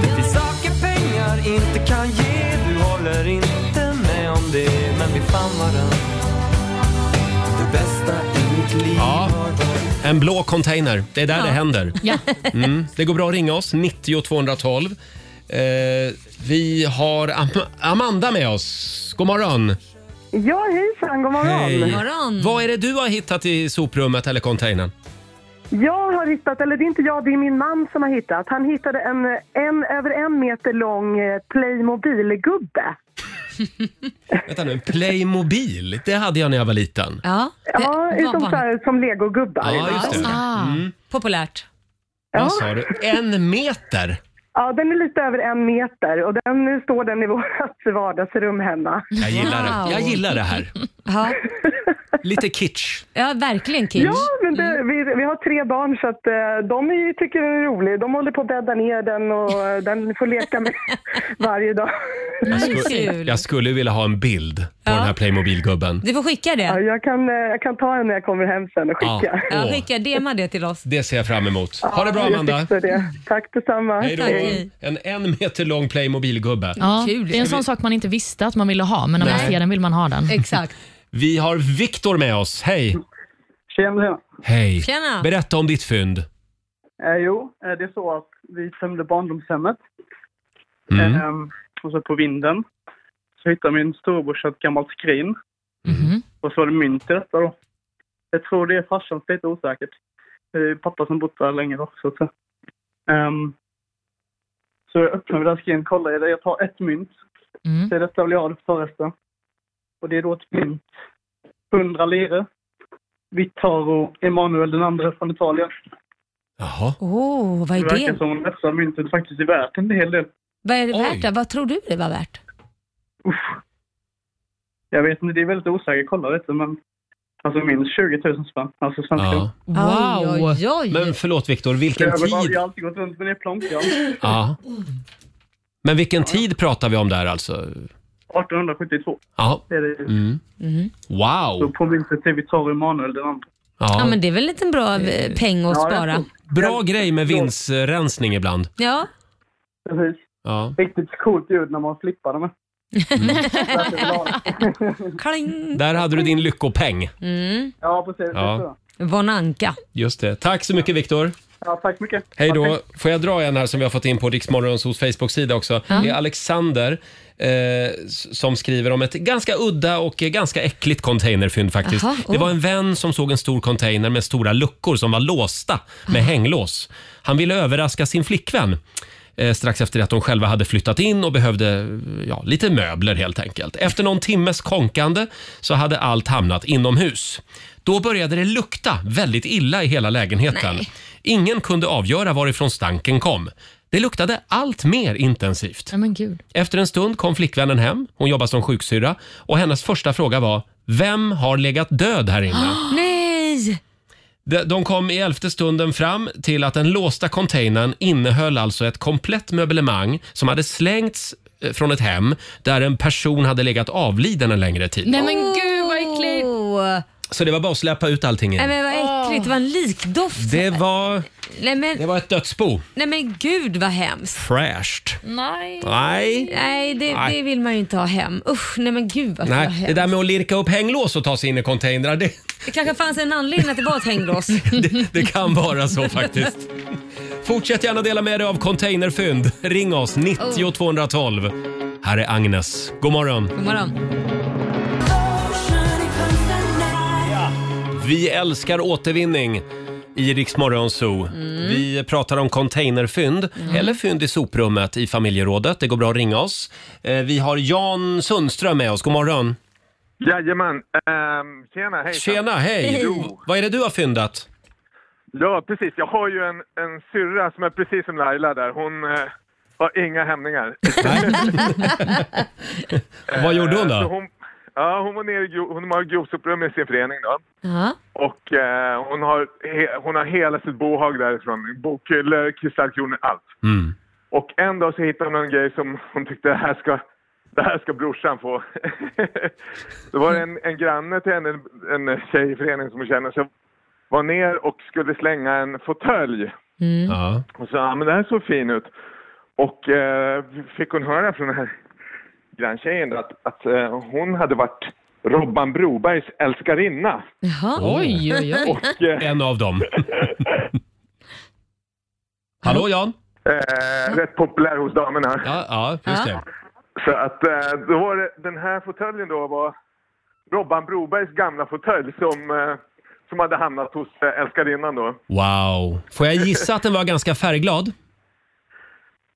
N: Det finns saker pengar inte kan ge Du håller inte med om det Men vi fann varandra det bästa i mitt liv
A: Ja. En blå container. Det är där det händer.
C: Ja.
A: Mm. Det går bra att ringa oss. 90 212. Eh, vi har Am Amanda med oss. God morgon.
M: Ja, hejsan, god morgon.
A: Vad är det du har hittat i soprummet eller containern?
M: Jag har hittat, eller det är inte jag, det är min man som har hittat. Han hittade en, en över en meter lång eh, Playmobil-gubbe.
A: Vänta nu, en Playmobil. Det hade jag när jag var liten.
B: Ja,
M: ja
B: det-
M: utom
B: vad
M: så
B: var
M: här, som legogubbar.
A: Ja, just det.
B: Ah.
A: Mm.
B: Populärt.
M: Ja.
A: Vad sa du? En meter?
M: Ja, den är lite över en meter och den nu står den i vårt vardagsrum hemma.
A: Jag gillar det. Jag gillar det här.
B: Ja,
A: Lite kitsch.
B: ja verkligen Kim.
M: Ja, men
B: Mm.
M: det, vi, vi har tre barn så att eh, de är, ju- tycker den är rolig. De håller på att bädda ner den och eh, den får leka med varje dag.
A: Jag, sku jag skulle vilja ha en bild på den här Playmobil-gubben.
B: Du får skicka det.
M: Ja, jag, kan, eh, jag kan ta en när jag kommer hem sen och skicka.
A: Ja.
B: Ja, skicka, DMa det till oss.
A: Det ser jag fram emot. Ha det bra,
M: Ja, jag
A: Amanda.
M: fixar det. Tack detsamma.
A: Hej då. En en meter lång Playmobil-gubbe.
C: Ja, det är en sån sak man inte visste att man ville ha, men när man
A: Nej.
C: ser den vill man ha den.
B: Exakt.
A: Vi har Viktor med oss. Hej!
P: Tjena.
A: Hej!
P: Tjena.
A: Berätta om ditt fynd.
P: Eh, jo, eh, det är så att vi tömde barndomshemmet.
A: Mm.
P: Ehm, och så på vinden så hittade min storbrorsa ett gammalt skrin.
C: Mhm.
P: Och så var det mynt i detta då. Jag tror det är farsans, lite osäkert. Det är pappa som bott där länge också. Så, Ehm, så jag öppnade det här skrinet, kollade i det. Jag tar ett mynt.
C: Mm.
P: Så detta vill jag ha det för resten. Och det är då ett mynt. 100 lire. Vittaro Emanuel den andre från Italien.
A: Jaha.
B: Åh, vad
P: Det
B: är
P: verkar
B: det?
P: som om dessa myntet faktiskt är värt en hel del.
B: Vad är det värt då? Vad tror du det var värt?
P: Jag vet inte, det är väldigt osäkert att kolla detta, men alltså minst 20 000 spänn, alltså svenska. Ja.
B: Wow. Oj, oj, oj.
A: Men förlåt Viktor, vilken tid?
P: Jag har alltid gått runt med det plånk, ja.
A: Ja. Men vilken tid pratar vi om där alltså?
P: 1872.
A: Ja.
P: Det är det.
A: Mm.
P: Så
A: Wow!
P: på myntet är vi tar Emanuel den andra.
B: Ja. men det är väl en liten bra eh, peng att
P: Ja, jag
B: spara.
P: tror-
A: Bra grej med vindsrensning ibland.
B: Ja.
P: Precis.
A: Ja.
P: Riktigt coolt ljud när man flippar dem.
B: Kling.
A: Där hade du din lyckopeng.
B: Mm.
P: Ja, precis.
A: Ja.
B: Vonanka.
A: Just det. Tack så mycket Viktor.
P: Ja, tack så mycket.
A: Hej då. Får jag dra en här som vi har fått in på Riksmorgonsos Facebook-sida också.
B: Ja.
A: Det är Alexander eh, s- som skriver om ett ganska udda och eh, ganska äckligt containerfynd faktiskt.
B: Jaha,
A: Det
B: oj.
A: var en vän som såg en stor container med stora luckor som var låsta med hänglås. Han ville överraska sin flickvän. eh, Strax efter att de själva hade flyttat in och behövde ja, lite möbler helt enkelt. Efter någon timmes konkande så hade allt hamnat inomhus. Då började det lukta väldigt illa i hela lägenheten.
C: Nej.
A: Ingen kunde avgöra varifrån stanken kom. Det luktade allt mer intensivt.
C: Ja, men gud.
A: Efter en stund kom flickvännen hem. Hon jobbar som sjuksyrra och hennes första fråga var Vem har legat död här inne?
B: Nej!
A: De- De kom i elfte stunden fram till att den låsta containern innehöll alltså ett komplett möblemang som hade slängts eh, från ett hem där en person hade legat avliden en längre tid.
C: Nej, men gud vad äckligt.
A: Så det var bara att släppa ut allting
B: Nej,
A: igen.
B: men vad äckligt. Det var en likdoft.
A: Det var,
B: Nej, men,
A: det var ett dödsbo.
B: nej, men gud vad hemskt.
A: Fräscht.
B: Nej.
A: Nej.
B: Nej, det,
A: Nej.
B: det vill man ju inte ha hem. Usch, nej men gud vad
A: Nej,
B: hemskt.
A: det där med att lirka upp hänglås och ta sig in i containrar, det,
B: Det kanske fanns en anledning att det var ett hänglås.
A: det, det kan vara så faktiskt. Fortsätt gärna dela med dig av containerfynd. Ring oss, 90 212. Här är Agnes. God morgon.
B: God morgon.
A: Vi älskar återvinning i Rix Morgon Zoo. Vi pratar om containerfynd, eller fynd i soprummet i familjerådet. Det går bra att ringa oss. Eh, Vi har Jan Sundström med oss. God morgon.
Q: Jajamän. Um, tjena, hej.
A: Tjena, hej!
Q: Jo,
A: Vad är det du har fyndat?
Q: ja, precis. Jag har ju en, en syrra som är precis som Laila där. Hon eh, har inga hämningar.
A: Vad gjorde Eh, hon
Q: Så
A: då?
Q: hon, ja, hon var nere i gro- hon har grovsoprum i sin förening då.
B: Ja.
Q: Och eh, hon, har he, hon har hela sitt bohag därifrån. Bokhyllor, kristallkronor, allt.
A: Mm.
Q: Och en dag så hittade hon en grej som hon tyckte det här ska, det här ska brorsan få. Då var det en, en granne till henne, en, en tjej i föreningen som hon känner, som var ner och skulle slänga en fåtölj.
A: Ja.
Q: Och sa, ja men det här såg fin ut. Och eh, fick hon höra från den här granntjejen då att, att eh, hon hade varit Robban Brobergs älskarinna.
B: Jaha.
Q: Oj, oj, oj. Och, eh,
A: Oh, En av dem. Hallå Jan?
Q: Eh, rätt populär hos damerna.
A: Ja, ja just det.
Q: Så att eh, då var det, den här fåtöljen då var Robban Brobergs gamla fåtölj som, eh, som hade hamnat hos eh, älskarinnan då.
A: Wow. Får jag gissa att den var ganska färgglad?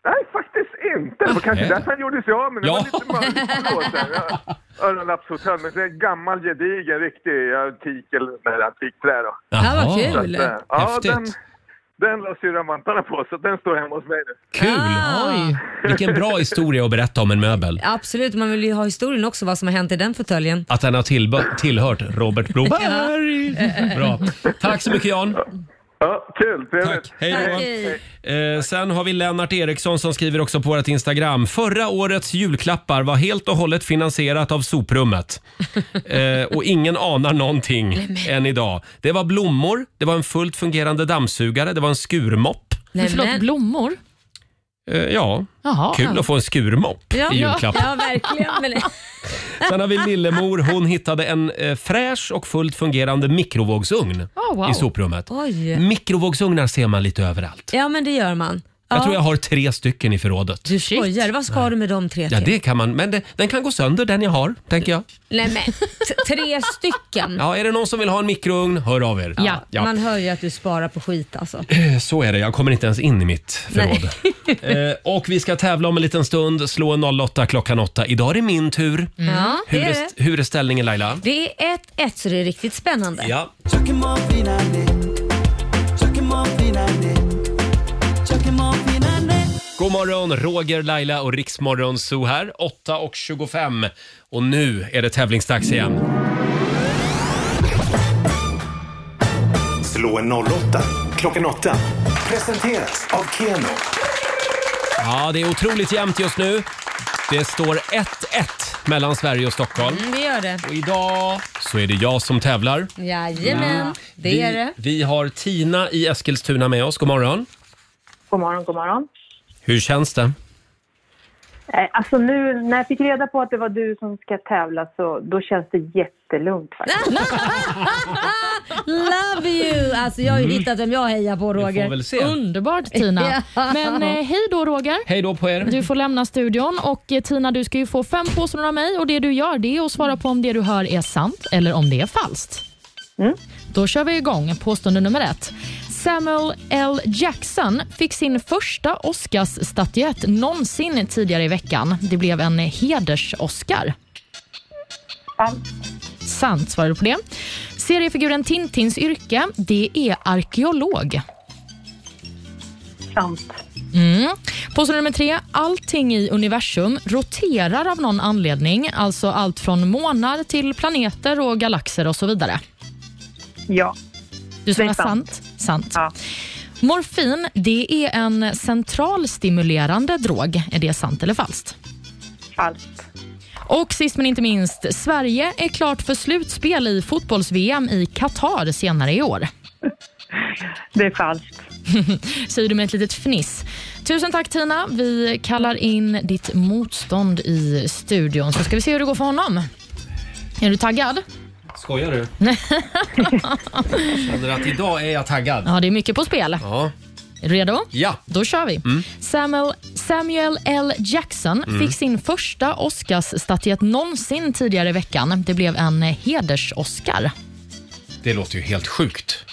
Q: Nej, faktiskt inte. Det var kanske
A: Nej.
Q: därför han gjorde sig av med den.
A: Ja.
Q: Det var lite mörkt. Öronlappsfåtölj, men det är en gammal gedigen riktig antik eller nej, antikträ då.
A: Jaha. Ja, vad kul.
Q: Så att, eh, ja,
A: Häftigt.
Q: den, den la syrran vantarna på så att den står hemma hos mig nu.
A: Kul! Oj. Vilken bra historia att berätta om en möbel.
B: Absolut, man vill ju ha historien också, vad som har hänt i den fåtöljen.
A: Att den har tillb- tillhört Robert Broberg. Bra. Tack så mycket Jan.
Q: Ja, kul. Trevligt.
A: Hej då.
Q: Tack.
A: Eh, sen har vi Lennart Eriksson som skriver också på vårt Instagram. Förra årets julklappar var helt och hållet finansierat av soprummet. Eh, och ingen anar någonting än idag. Det var blommor, det var en fullt fungerande dammsugare, det var en skurmopp.
C: Men förlåt, blommor?
A: Eh, ja,
C: Jaha.
A: kul att få en skurmopp i julklapp.
B: Ja, verkligen. Men,
A: Sen har vi Lillemor. Hon hittade en eh, fräsch och fullt fungerande mikrovågsugn
B: Oh, wow.
A: i soprummet.
B: Oj.
A: Mikrovågsugnar ser man lite överallt.
B: ja, men det gör man. Ja.
A: Jag tror jag har tre stycken i förrådet.
B: Du skojar, vad ska du med de tre
A: Ja,
B: till?
A: det kan man. Men det, den kan gå sönder, den jag har, tänker jag.
B: Nej men, t- tre stycken.
A: Ja, är det någon som vill ha en mikrougn, hör av er.
B: Ja, man hör ju att du sparar på skit alltså.
A: Så är det, jag kommer inte ens in i mitt förråd. Eh, och vi ska tävla om en liten stund, slå en 08 klockan 8. Idag är det min tur.
B: Ja,
A: Mm. Hur,
B: Mm. det är
A: är,
B: det.
A: hur är ställningen Laila?
B: Det är 1-1 så det är riktigt spännande.
A: Ja.
R: Söker morfinande, söker morfinande,
A: God morgon, Roger, Laila och Riksmorgon Zoo här. 8.25 och nu är det tävlingsdags igen.
G: Slå en 08 klockan 8. Presenteras av Keno.
A: Ja, det är otroligt jämnt just nu. Det står 1-1 mellan Sverige och Stockholm.
B: Mm, det gör det.
A: Och idag... Så är det jag som tävlar.
B: Jajamän, det
A: vi,
B: är det.
A: Vi har Tina i Eskilstuna med oss. God morgon.
R: God morgon, god morgon.
A: Hur känns det?
R: Eh, Alltså nu när jag fick reda på att det var du som ska tävla så då känns det jättelugnt faktiskt.
B: Love you! Alltså jag har ju
A: Mm.
B: hittat vem jag hejar på Roger.
A: väl se.
C: Underbart Tina.
B: Ja.
C: Men eh, hej då Roger.
A: Hej då på er.
C: Du får lämna studion och eh, Tina du ska ju få fem påståenden av mig och det du gör det är att svara på om det du hör är sant eller om det är falskt. Då kör vi igång påstående nummer ett. Samuel L. Jackson fick sin första Oscarsstatyett någonsin tidigare i veckan. Det blev en heders-Oscar. Sant svarar du på det. Seriefiguren Tintins yrke, det är arkeolog. Sant. Mm. Påstående nummer tre. Allting i universum roterar av någon anledning. Alltså allt från månar till planeter och galaxer och så vidare.
R: Ja.
C: Du svarar
R: Det är sant.
C: sant. Sant. Morfin, det är en centralstimulerande drog. Är det sant eller falskt?
R: Falskt.
C: Och sist men inte minst, Sverige är klart för slutspel i fotbolls-VM i Qatar senare i år.
R: Det är falskt.
C: Säger du med ett litet fniss. Tusen tack Tina. Vi kallar in ditt motstånd i studion så ska vi se hur det går för honom. Är du taggad?
A: Skojar du? Känner att idag är jag taggad.
C: Ja, det är mycket på spel.
A: Ja.
C: Är du redo?
A: Ja.
C: Då kör vi.
A: Mm.
C: Samuel, Samuel L. Jackson
A: Mm.
C: fick sin första Oscarsstatyett någonsin tidigare i veckan. Det blev en heders-Oscar.
A: Det låter ju helt sjukt.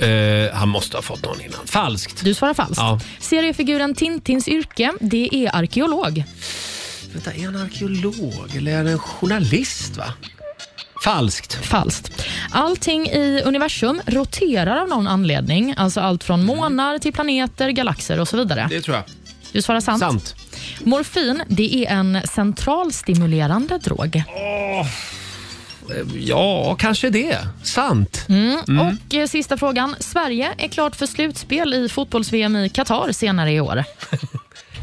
A: Eh, han måste ha fått någon innan. Falskt.
C: Du svarar falskt.
A: Ja.
C: Seriefiguren Tintins yrke, det är arkeolog.
A: Vänta, är han arkeolog eller är han en journalist? va? Falskt.
C: Falskt. Allting i universum roterar av någon anledning. Alltså allt från månar till planeter, galaxer och så vidare.
A: Mm. Det tror jag.
C: Du svarar sant.
A: Sant.
C: Morfin, det är en centralstimulerande drog.
A: Eh, Ja, kanske det. Sant.
C: Mm.
A: Mm.
C: Och eh, sista frågan. Sverige är klart för slutspel i fotbolls-VM i Qatar senare i år.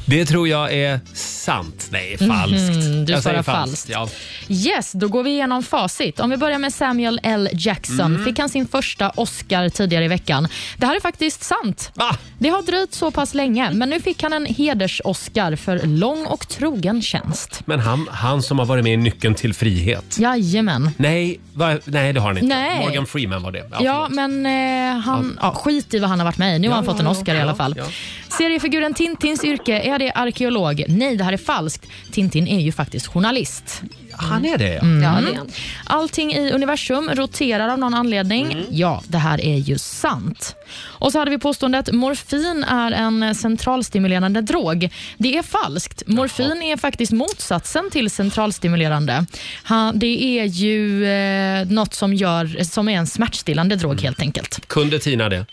A: Det tror jag är sant. Nej, falskt.
C: Mhm, du
A: jag
C: svarar
A: säger
C: falskt.
A: Ja.
C: Yes, då går vi igenom facit. Om vi börjar med Samuel L. Jackson.
A: Mm.
C: Fick han sin första Oscar tidigare i veckan. Det här är faktiskt sant.
A: Ah,
C: Det har dröjt så pass länge, men nu fick han en heders-Oscar för lång och trogen tjänst.
A: Men han, han som har varit med i Nyckeln till frihet.
C: Jajamän.
A: Nej, va, nej det har han inte.
C: Nej.
A: Morgan Freeman var det.
C: Ja, men eh, han, ja. skit i vad han har varit med i. Nu
A: Ja,
C: har han fått en
A: ja,
C: Oscar i
A: ja,
C: alla fall.
A: ja.
C: Seriefiguren Tintins yrke, är det arkeolog? Nej, det här är falskt. Tintin är ju faktiskt journalist.
A: Han är det, ja.
B: Ja, det är han.
C: Allting i universum roterar av någon anledning. Ja, det här är ju sant. Och så hade vi påståendet morfin är en centralstimulerande drog. Det är falskt. Morfin är faktiskt motsatsen till centralstimulerande. Ha- Det är ju eh, något som, gör, som är en smärtstillande drog helt enkelt.
A: Kunde Tina det?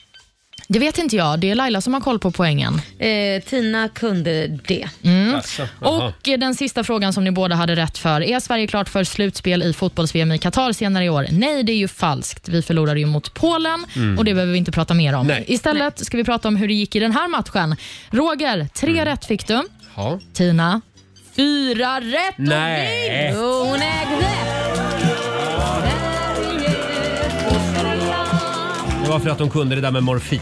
C: Det vet inte jag. Det är Laila som har koll på poängen.
B: Eh, Tina kunde det.
C: Mm.
A: Jaså, jaha.
C: Och den sista frågan som ni båda hade rätt för. Är Sverige klart för slutspel i fotbolls-VM i Qatar senare i år? Nej, det är ju falskt. Vi förlorade ju mot Polen
A: Mm.
C: och det behöver vi inte prata mer om. Istället ska vi prata om hur det gick i den här matchen. Roger, tre
A: Mm.
C: rätt fick du.
A: Ja.
C: Tina, fyra rätt och
A: Nej.
C: vinst!
B: Jo, hon ägde!
A: Det var för att de kunde det där med morfin.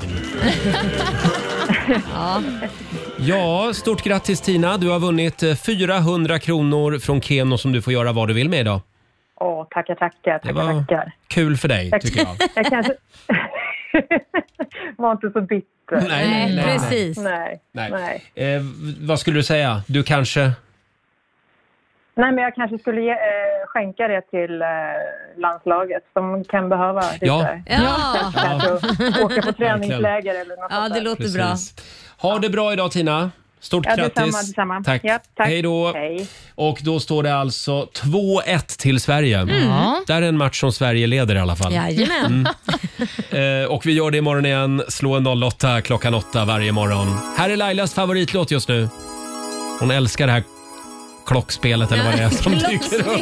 B: ja.
A: Ja, stort grattis Tina. Du har vunnit eh, 400 kronor från Keno som du får göra vad du vill med idag.
R: Åh, tackar, tackar,
A: Det
R: tackar,
A: var
R: tackar.
A: kul för dig, tycker jag.
R: jag kanske... var inte så bitter.
A: Nej, nej, Nej, nej, nej. precis.
R: Nej,
A: Nej.
R: nej. nej.
A: Eh, v- vad skulle du säga? Du kanske...
R: men jag kanske skulle ge, eh, skänka det till eh, landslaget. De kan behöva lite
A: Ja.
B: Ja.
R: Kanske åka på
A: Verkligen.
R: träningsläger eller något
B: Ja, det låter bra.
A: Precis. Ha det bra idag Tina. Stort
R: Ja,
A: grattis.
R: detsamma, detsamma.
A: Tack.
R: Ja, tack.
A: Hej då.
R: Hej.
A: Och då står det alltså 2-1 till Sverige.
R: Mm.
A: Där är en match som Sverige leder i alla fall.
B: Jajamän.
A: Mm. Eh, och vi gör det imorgon igen. Slå en 08 klockan 8 varje morgon. Här är Lailas favoritlåt just nu. Hon älskar det här klockspelet eller vad det är som dyker upp.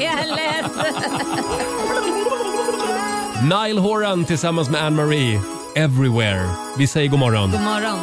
A: Nile Horan tillsammans med Anne Marie. Everywhere. Vi säger god morgon.
B: God morgon.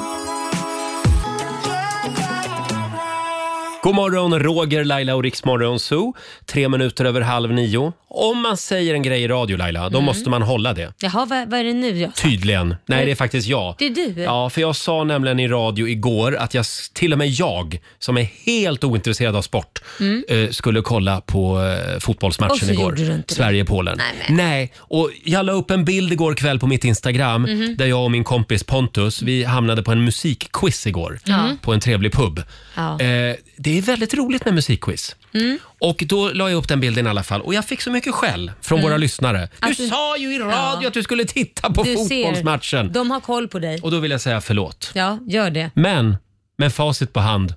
A: God morgon, Roger, Laila och Riksmorgon Zoo. Tre minuter över halv nio. Om man säger en grej i radio, Laila, då
B: Mm.
A: måste man hålla det.
B: Jaha, vad, vad är det nu jag sa?
A: Tydligen. Nej, det är faktiskt jag.
B: Det är du.
A: Ja, för jag sa nämligen i radio igår att jag, till och med jag, som är helt ointresserad av sport,
B: Mm.
A: eh, skulle kolla på eh, fotbollsmatchen
B: Och så
A: igår.
B: gjorde du inte det.
A: Sverige-Polen.
B: Nej,
A: Nej, och jag la upp en bild igår kväll på mitt Instagram
B: Mhm.
A: där jag och min kompis Pontus, vi hamnade på en musikquiz igår
B: Ja.
A: på en trevlig pub.
B: Ja.
A: Eh, det är väldigt roligt med musikquiz.
B: Mm.
A: Och då la jag upp den bilden i alla fall och jag fick så mycket skäll från
B: Mm.
A: våra lyssnare. Du
B: Att du-
A: sa ju i radio
B: Ja.
A: att du skulle titta på
B: Du ser.
A: fotbollsmatchen.
B: De har koll på dig.
A: Och då vill jag säga förlåt.
B: Ja, gör det.
A: Men med facit på hand,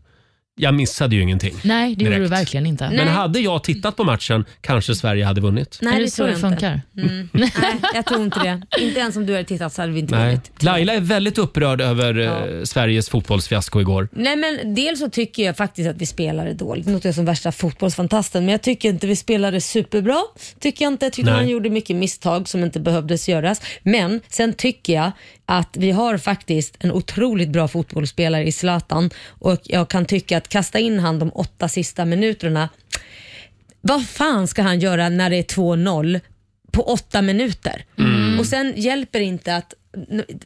A: jag missade ju ingenting.
C: Nej, det gjorde
A: direkt.
C: du verkligen inte.
A: Men hade jag tittat på matchen kanske Sverige hade vunnit.
C: Nej, det tror jag inte.
B: Mm. Nej, jag tror inte det. Inte ens om du hade tittat så hade vi inte
A: Nej.
B: vunnit.
A: Laila är väldigt upprörd över eh, Sveriges fotbollsfiasko igår.
B: Nej men dels så tycker jag faktiskt att vi spelade dåligt. Nu låter jag som värsta fotbollsfantasten men jag tycker inte vi spelade superbra. Tycker jag inte. Jag tycker
S: Nej.
B: man gjorde mycket misstag som inte behövdes göras. Men sen tycker jag att vi har faktiskt en otroligt bra fotbollsspelare i Zlatan och jag kan tycka att kasta in han de åtta sista minuterna. Vad fan ska han göra när det är 2-0 på åtta minuter? Och sen hjälper det inte att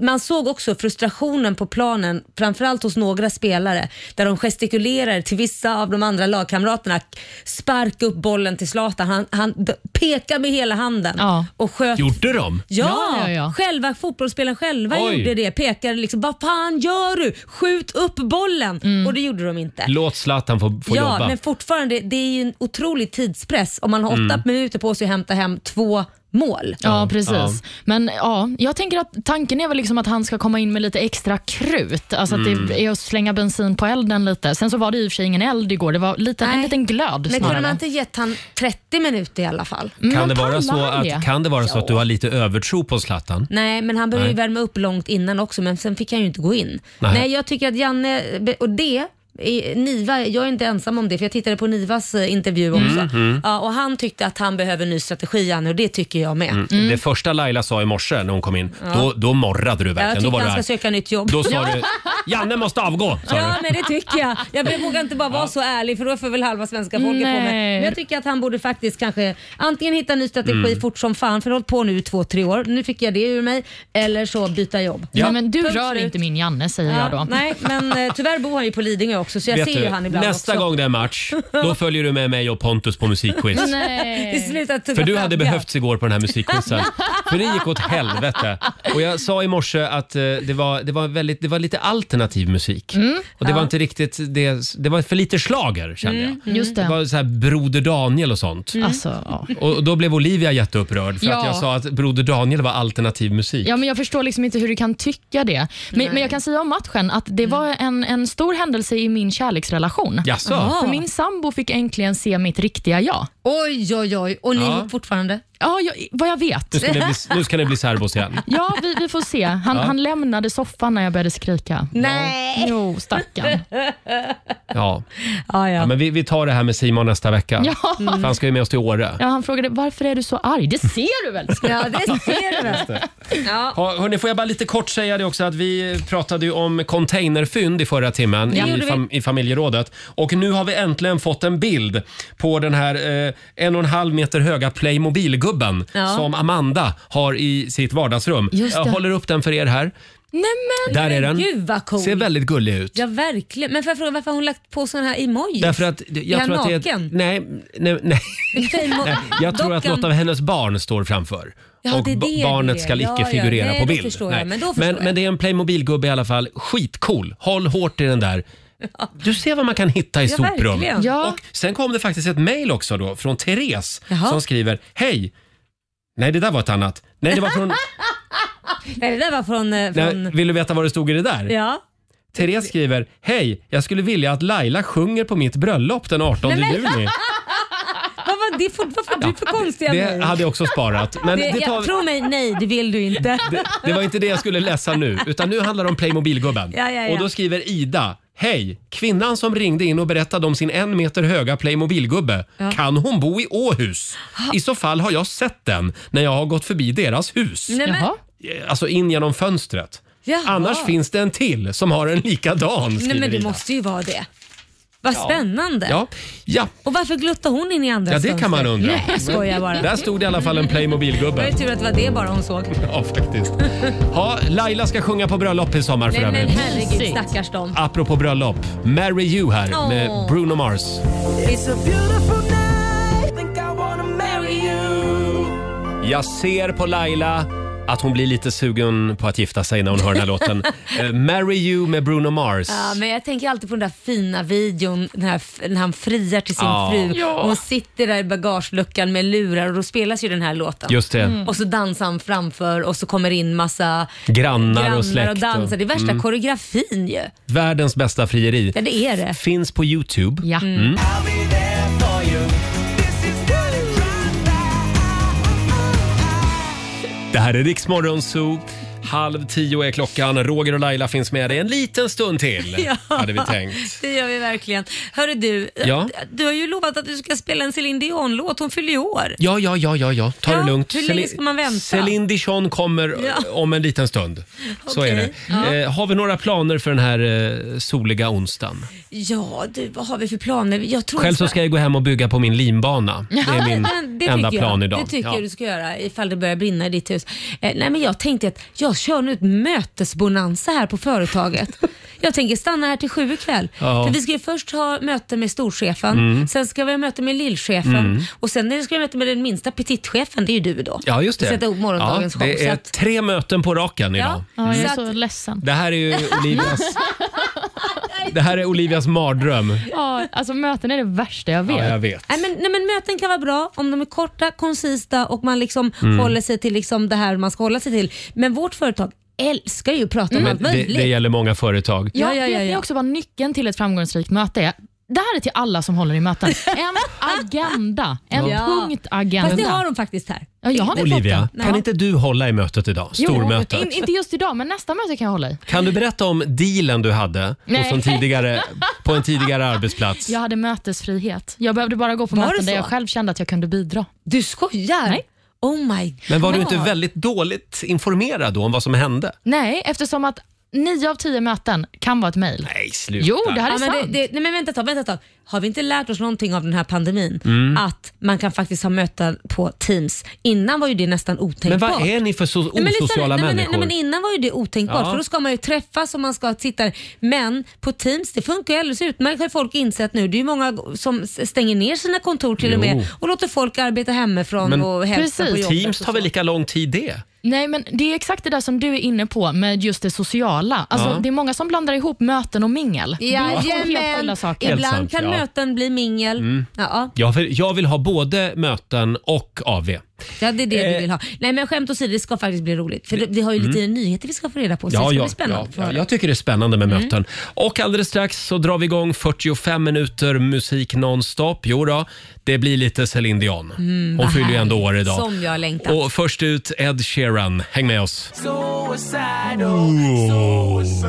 B: man såg också frustrationen på planen, framförallt hos några spelare, där de gestikulerar till vissa av de andra lagkamraterna. Sparka upp bollen till Zlatan. Han, han d- pekar med hela handen och sköt.
A: Gjorde de?
B: Ja, själva fotbollsspelaren själva
A: Oj.
B: gjorde det. Pekade liksom, vad fan gör du? Skjut upp bollen! Och det gjorde de inte.
A: Låt Zlatan få, få
B: ja,
A: jobba.
B: men fortfarande, det är ju en otrolig tidspress om man har åtta
A: Mm.
B: minuter på sig att hämta hem två mål.
C: Ja, precis. Men ja, jag tänker att tanken är väl liksom att han ska komma in med lite extra krut. Alltså att
B: Mm.
C: det är att slänga bensin på elden lite. Sen så var det i och för sig ingen eld igår. Det var lite, en liten glöd
B: Men kunde
C: snarare.
B: man inte gett han 30 minuter i alla fall?
A: Kan det, vara så att, kan det vara så att du har lite övertro på Zlatan?
B: Nej, men han behövde ju
A: Nej.
B: värma upp långt innan också, men sen fick han ju inte gå in.
A: Nej.
B: Nej, jag tycker att Janne, och det, eh, Niva, jag är inte ensam om det, för jag tittade på Nivas eh, intervju också.
A: Mm, mm.
B: Ja, och han tyckte att han behöver en ny strategi, Janne, och det tycker jag med.
A: Mm. Det första Laila sa i morse när hon kom in,
B: Ja.
A: då, då morrade du
B: Ja, jag
A: verkligen. Då
B: tycker
A: var du
B: han ska
A: här.
B: söka nytt jobb.
A: Då sa
B: Ja.
A: du, Janne måste avgå. Sa
B: Ja,
A: du.
B: men det tycker jag. Jag vågar inte bara vara så ärlig för då får väl halva svenska folket på mig.
C: Nej.
B: Men jag tycker att han borde faktiskt kanske antingen hitta en ny strategi
C: Mm.
B: fort som fan, för jag har hållit på nu i två, tre år. Nu fick jag det ur mig. Eller så byta jobb.
C: Nej, men du
B: Punkt
C: rör
B: slut.
C: inte min Janne, säger
B: Ja,
C: jag då.
B: Nej, men eh, tyvärr bor han ju på Lidingö också så jag
A: Vet
B: ser
A: du,
B: ju han ibland
A: nästa
B: också.
A: gång det är match, då följer du med mig och Pontus på musikquiz.
B: Mm. Nej. Det slutar tugga
A: För du hade
B: flagga.
A: behövts igår på den här musikquizen. För det gick åt helvete. Och jag sa i morse att eh, det var, det var, väldigt, det var lite alternativ musik.
C: Mm.
A: Och det var
C: Ja.
A: inte riktigt det, det var för lite schlager kände
C: Mm,
A: jag.
C: just det.
A: var så här Broder Daniel och sånt.
C: Mm. Alltså, ja.
A: Och då blev Olivia jätteupprörd för att
C: Ja.
A: jag sa att Broder Daniel var alternativ musik.
C: Ja, men jag förstår liksom inte hur du kan tycka det. Men, men jag kan säga om matchen att det
B: Mm.
C: var en, en stor händelse i min kärleksrelation.
A: Jaså? Aha.
C: För min sambo fick äntligen se mitt riktiga jag.
B: Oj, oj, oj. Och
A: ni Ja. ihop
B: fortfarande?
C: Ja, jag, vad jag vet.
A: Nu ska ni bli, nu ska ni bli särbos igen.
C: Ja, vi, vi får se. Han,
A: Ja.
C: han lämnade soffan när jag började skrika.
B: Nej!
C: Jo, stackarn.
A: Ja.
B: Ja,
A: men vi, vi tar det här med Simon nästa vecka.
C: Ja.
A: För han ska ju med oss till Åre.
C: Ja, han frågade varför är du så arg. Det ser du väl?
B: Ja, det ser du
A: Just
B: väl.
A: det.
B: Ja.
A: Ha, hörni, får jag bara lite kort säga det också att vi pratade ju om containerfynd i förra timmen
B: Ja,
A: i,
B: gjorde vi.
A: fam, i familjerådet. Och nu har vi äntligen fått en bild på den här eh, en och en halv meter höga Playmobil-gubben
C: Ja.
A: som Amanda har i sitt vardagsrum.
B: Just
A: Jag
B: det.
A: håller upp den för er här.
B: Nej, men,
A: Där är den.
B: Gud vad cool.
A: Ser väldigt gullig ut.
B: Ja, verkligen. Men får jag fråga varför har hon lagt på sån här emoji?
A: Därför att
B: Är
A: jag
B: han
A: tror att det är ett,
B: naken?
A: nej, nej, nej,
B: Playmo-
A: nej, jag tror att
B: dockan.
A: något av hennes barn står framför.
B: Ja,
A: och
B: det är
A: ba-
B: det
A: barnet
B: det är.
A: ska
B: Ja,
A: icke
B: ja,
A: figurera
B: nej,
A: på
B: då
A: bild.
B: förstår jag, men då förstår
A: men,
B: jag.
A: men det är en Playmobil-gubbe i alla fall. Skitcool. Håll hårt i den där. Du ser vad man kan hitta i
B: Ja,
A: soprum.
B: verkligen. Ja.
A: Och sen kom det faktiskt ett mejl också då från Therese
B: Jaha.
A: som skriver Hej! Nej, det där var ett annat. Nej, det var från...
B: Nej, det där var från... eh,
A: nej,
B: från
A: vill du veta vad det stod i det där?
B: ja.
A: Therese skriver, hej, jag skulle vilja att Laila sjunger på mitt bröllop den 18
B: Nej, men-
A: juni.
B: Vad var det för, vad var det för konstiga
A: Det hade jag också sparat. Men
B: det,
A: det, tar,
B: jag, tro mig, nej det vill du inte.
A: det var inte det jag skulle läsa nu, utan nu handlar det om Playmobilgubben.
B: Ja, ja, ja.
A: Och då skriver Ida, hej, kvinnan som ringde in och berättade om sin en meter höga Playmobilgubbe,
B: Ja.
A: kan hon bo i Åhus? I så fall har jag sett den när jag har gått förbi deras hus.
B: Nej, men- Jaha.
A: Alltså in genom fönstret.
B: Jaha.
A: Annars finns det en till som har en likadan,
B: Nej
A: skriver
B: men det
A: Ida.
B: måste ju vara det. Vad
A: Ja.
B: spännande.
A: Ja, ja,
B: Och varför gluttar hon in i andra
A: ja, det kan man undra.
B: Nej, jag skojar bara.
A: Där stod det i alla fall en
B: Det var
A: Playmobilgubbe.
B: ju tur att det var det bara hon såg.
A: Ja, faktiskt. Ja, Laila ska sjunga på bröllop i sommar för
B: Nej men
A: övrigt.
B: herregud stackars dem.
A: Apropå bröllop, Marry You här
B: Åh.
A: med Bruno Mars.
N: It's a beautiful night, think I wanna marry you
A: Jag ser på Laila att hon blir lite sugen på att gifta sig när hon hör den här låten. Eh, Marry You med Bruno Mars.
B: Ja, men jag tänker alltid på den där fina videon den här, f- när han friar till sin
A: Ja.
B: fru.
A: Ja.
B: Och hon sitter där i bagageluckan med lurar och då spelas ju den här låten.
A: Just det. Mm.
B: Och så dansar han framför och så kommer in massa
A: Grannar,
B: grannar
A: och släkt.
B: och dansar. Det är värsta
A: Mm.
B: koreografin ju.
A: Världens bästa frieri.
B: Ja, det är det.
A: Finns på Youtube.
B: Ja.
A: Mm. Det här är Riksmorgon Zoo. Halv tio är klockan. Roger och Laila finns med dig en liten stund till. Hade vi tänkt.
B: det gör vi verkligen. Hörru du,
A: Ja.
B: du har ju lovat att du ska spela en Céline Dion-låt. Hon fyller ju år.
A: Ja, ja, ja, ja, ja. ta
B: Ja,
A: det lugnt.
B: hur länge
A: Celi-
B: ska man vänta?
A: Céline Dion kommer eh,
B: Ja.
A: om en liten stund. Så
B: Okej.
A: är det.
B: Ja.
A: Eh, har vi några planer för den här eh, soliga onsdagen?
B: Ja, du, vad har vi för planer? Jag tror
A: Själv så ska jag gå hem och bygga på min limbana. Det är min
B: men det
A: enda
B: tycker jag.
A: plan idag.
B: Det tycker
A: Ja.
B: jag du ska göra ifall det börjar brinna i ditt hus. Eh, nej, men jag tänkte att jag kör nu ett mötesbonanza här på företaget. jag tänker stanna här till sju ikväll.
I: Ja.
B: För vi ska ju först ha möte med storchefen,
I: Mm.
B: sen ska vi ha möte med lillchefen
A: Mm.
B: och sen när vi ska ha möte med den minsta petitchefen, det är ju du då.
A: Ja, just det.
B: Sätta ihop morgondagens
A: ja,
B: show.
A: Det
B: så
A: är
B: att-
A: tre möten på raken idag. Mm.
B: Ja,
C: Ja, jag är
B: så
C: så ledsen.
A: Det här är ju Olivias, det här är Olivias mardröm.
C: Ja, alltså möten är det värsta jag vet.
A: Ja, jag vet.
B: Nej, men, nej, men möten kan vara bra om de är korta, koncisa och man liksom
A: Mm.
B: håller sig till liksom det här man ska hålla sig till. Men vårt företag älskar ju att prata om
A: Men
B: allt
A: det,
B: möjligt.
A: det gäller många företag.
C: Ja, ja, ja, Vet ni också vad nyckeln till ett framgångsrikt möte är? Det här är till alla som håller i möten. En agenda. En
B: Ja.
C: punktagenda.
B: Fast det har de faktiskt här.
C: Ja, jag har inte
A: Olivia,
C: fått den.
A: kan
C: Ja.
A: inte du hålla i mötet idag?
C: Jo,
A: Stormötet.
C: in, inte just idag, men nästa möte kan jag hålla i.
A: Kan du berätta om dealen du hade hos
C: Nej.
A: en tidigare, på en tidigare arbetsplats?
C: Jag hade mötesfrihet. Jag behövde bara gå på
B: Var det
C: möten där
B: så?
C: jag själv kände att jag kunde bidra.
B: Du skojar? Nej. Oh my
A: Men var du inte
C: Ja.
A: väldigt dåligt informerad då om vad som hände?
C: Nej, eftersom att nio av tio möten kan vara ett mejl.
A: Nej, sluta.
C: Jo, det här är
B: Ja, men
C: sant.
B: Det, det, nej, men vänta ett tag, vänta ett tag. Har vi inte lärt oss någonting av den här pandemin?
A: Mm.
B: Att man kan faktiskt ha möten på Teams. Innan var ju det nästan
A: Men
B: otänkbart.
A: vad är ni för so-
B: Nej, men lyssna nu.
A: osociala
B: nej, men,
A: människor?
B: Nej, men innan var ju det otänkbart
A: Ja.
B: för då ska man ju träffas och man ska titta. Men på Teams, det funkar ju alldeles utmärkt har ju folk insett nu. Det är ju många som s- stänger ner sina kontor till och med
A: Jo.
B: och låter folk arbeta hemifrån och hälsa på jobbet.
A: Teams
B: och
A: tar väl lika lång tid det?
C: Nej, men det är exakt det där som du är inne på med just det sociala. Alltså,
A: Ja.
C: Det är många som blandar ihop möten och mingel. Det är två helt skilda
B: Jajamän,
C: saker.
B: ibland
A: Helt sant,
B: kan
A: ja.
B: möten bli mingel.
A: Mm.
B: Ja,
A: Jag vill, jag vill ha både möten och AV.
B: ja, det är det
A: Eh.
B: du vill ha. Nej men skämt åsido, det ska faktiskt bli roligt. För det, vi har ju lite
A: Mm.
B: nyheter vi ska få reda på så det
A: Ja,
B: ska
A: ja,
B: bli spännande.
A: ja, ja, jag tycker det är spännande med
B: Mm.
A: möten. Och alldeles strax så drar vi igång 45 minuter musik nonstop. Jo då, det blir lite Celine Dion.
B: Mm,
A: Hon
B: vad
A: fyller ju ändå
B: härligt.
A: år idag.
B: Som jag längtat.
A: Och först ut Ed Sheeran. Häng med oss.
N: Suicidal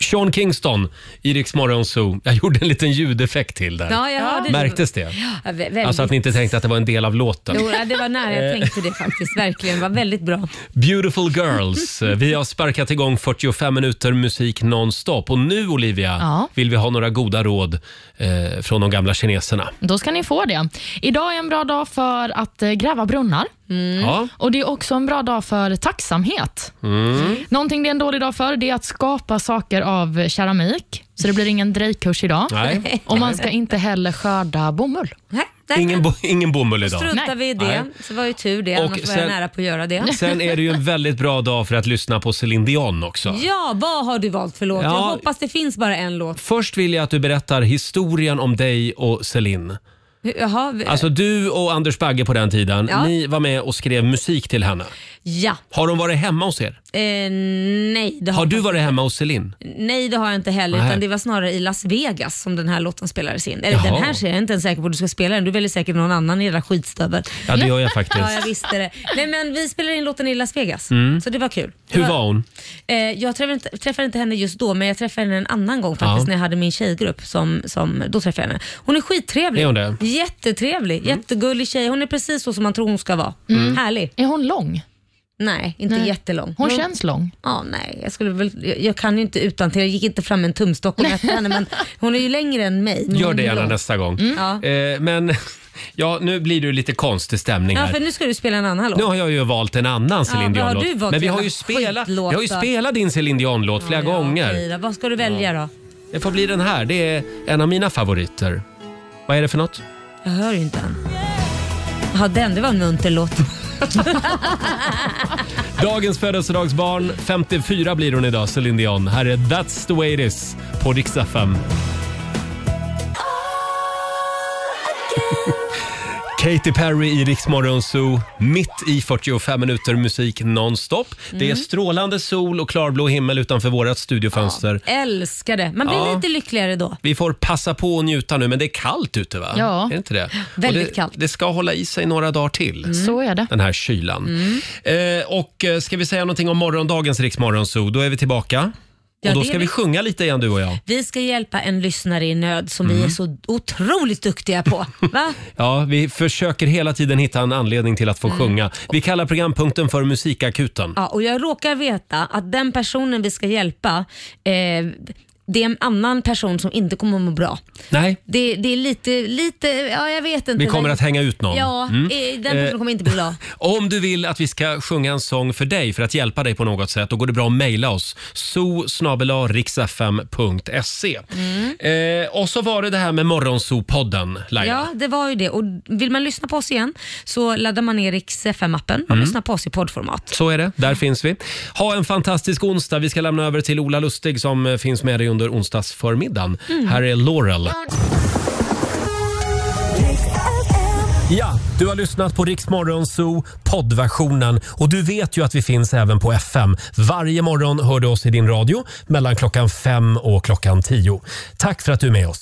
A: Sean Kingston i Rix Morgon Zoo. Jag gjorde en liten ljudeffekt till där.
B: Ja, jag hörde det.
A: Märktes det?
B: Ja, vä- väldigt.
A: Alltså att Eh. ni inte tänkte att det var en del av låten.
B: Jo, ja, det var nära jag tänkte det faktiskt. Verkligen, det var väldigt bra.
A: Beautiful Girls. Eh, Vi har sparkat igång 45 minuter musik nonstop. Och nu, Olivia,
C: Ja.
A: vill vi ha några goda råd eh, från de gamla kineserna.
C: Då ska ni få det. Idag är en bra dag för att eh, gräva brunnar.
B: Mm.
A: Ja.
C: Och Det är också en bra dag för tacksamhet.
A: Mm.
C: Någonting det är en dålig dag för det är att skapa saker av keramik. Så det blir ingen drejkurs idag.
A: Nej.
C: Och man ska inte heller skörda bomull.
A: Ingen, bo- ingen bomull idag.
B: Struntar vi i det,
A: Nej.
B: så var ju tur det.
A: Och
B: Annars var
A: sen-
B: jag nära på att göra det.
A: Sen är det ju en väldigt bra dag för att lyssna på Céline Dion också.
B: Ja, vad har du valt för låt? Jag
A: Ja.
B: hoppas det finns bara en låt.
A: Först vill jag att du berättar historien om dig och Céline.
B: Jaha, vi-
A: Alltså du och Anders Bagge på den tiden,
B: Ja.
A: ni var med och skrev musik till henne.
B: ja.
A: Har hon varit hemma hos er?
B: Eh, nej, det har,
A: Har du varit hemma hos Celine?
B: nej, det har jag inte heller.
A: Nej.
B: Utan det var snarare i Las Vegas som den här låten spelades in. Eller
A: Jaha.
B: den här ser jag inte ens säker på att du ska spela den. Du väljer säkert någon annan i hela skitstövel.
A: Ja, det gör jag faktiskt.
B: ja, jag visste det. Nej, men vi spelade in låten i Las Vegas,
A: Mm.
B: så det var kul. Det
A: Hur var hon?
B: Eh, jag träffade inte, träffade inte henne just då, men jag träffade henne en annan gång faktiskt
A: Ja.
B: när jag hade min tjejgrupp. Som, som, då träffade jag henne. Hon är skittrevlig.
A: Är hon det?
B: Jättetrevlig, jättegullig tjej. Hon är precis så som man tror hon ska vara.
A: Mm.
B: Härlig. Är hon lång? Nej, inte
C: Nej.
B: jättelång.
C: Hon känns lång.
B: Ja, nej. Jag, skulle väl, jag, jag kan ju inte utan till. Jag gick inte fram med en tumstock och mätte henne, men hon är ju längre än mig. men
A: Gör
B: hon
A: det
B: är
A: gärna
B: lång.
A: nästa gång.
B: Mm. Ja.
A: Eh, men ja, nu blir det ju lite konstig stämning
B: Ja,
A: här.
B: för nu ska du spela en annan låt.
A: Nu har jag ju valt en annan Céline
B: vad har du
A: Dion-låt.
B: valt
A: Men vi
B: för
A: har,
B: jävla
A: ju spelat, vi
B: skitlåtar?
A: har ju spelat din Céline Dion-låt flera gånger.
B: Frida, Vad ska du välja då?
A: Det får bli den här. Det är en av mina favoriter. Vad är det för något?
B: Jag hör ju inte än. Ja, den. Det var en munter låt.
A: Dagens födelsedagsbarn, 54 blir hon idag, Céline Dion. Här är That's the way it is på Dix FM. Katy Perry i Rix Morgon Zoo, mitt i 45 minuter musik nonstop. Det är
B: Mm.
A: strålande sol och klarblå himmel utanför vårt studiofönster.
B: Älskar det. Man blir
A: Ja.
B: lite lyckligare då.
A: Vi får passa på att njuta nu, men det är kallt ute va?
B: Ja.
A: Är det inte det?
B: Väldigt
A: Och det,
B: kallt.
A: Det ska hålla i sig några dagar till.
C: Så är det.
A: Den här kylan. Eh, och eh, ska vi säga någonting om morgondagens Riksmorgonzoo, då är vi tillbaka.
B: Ja,
A: och då
B: det är
A: ska vi
B: vi.
A: sjunga lite igen du och jag.
B: Vi ska hjälpa en lyssnare i nöd som vi
A: Mm.
B: är så otroligt duktiga på. Va?
A: Ja, vi försöker hela tiden hitta en anledning till att få
B: Mm.
A: sjunga. Vi kallar programpunkten för Musikakuten.
B: Ja, och jag råkar veta att den personen vi ska hjälpa, eh, det är en annan person som inte kommer att må bra.
A: Nej,
B: Det, det är lite, lite, ja jag vet inte.
A: vi kommer att hänga ut någon.
B: Ja,
A: Mm.
B: eh, den
A: Eh,
B: personen kommer inte bli glad.
A: Om du vill att vi ska sjunga en sång för dig för att hjälpa dig på något sätt, då går det bra att mejla oss. zoo.riksfm.se
B: Mm.
A: eh, Och så var det det här med Morgonzoo-podden, Laila.
B: Ja, det var ju det. Och vill man lyssna på oss igen så laddar man ner Rix FM-appen och
A: Mm.
B: lyssnar på oss i poddformat.
A: Så är det. Där finns vi. Ha en fantastisk onsdag. Vi ska lämna över till Ola Lustig som eh, finns med dig under onsdagsförmiddagen.
B: Mm.
A: Här är Laurel. Ja, du har lyssnat på Rix Morgon Zoo poddversionen och du vet ju att vi finns även på FM. Varje morgon hör du oss i din radio mellan klockan fem och klockan tio. Tack för att du är med oss.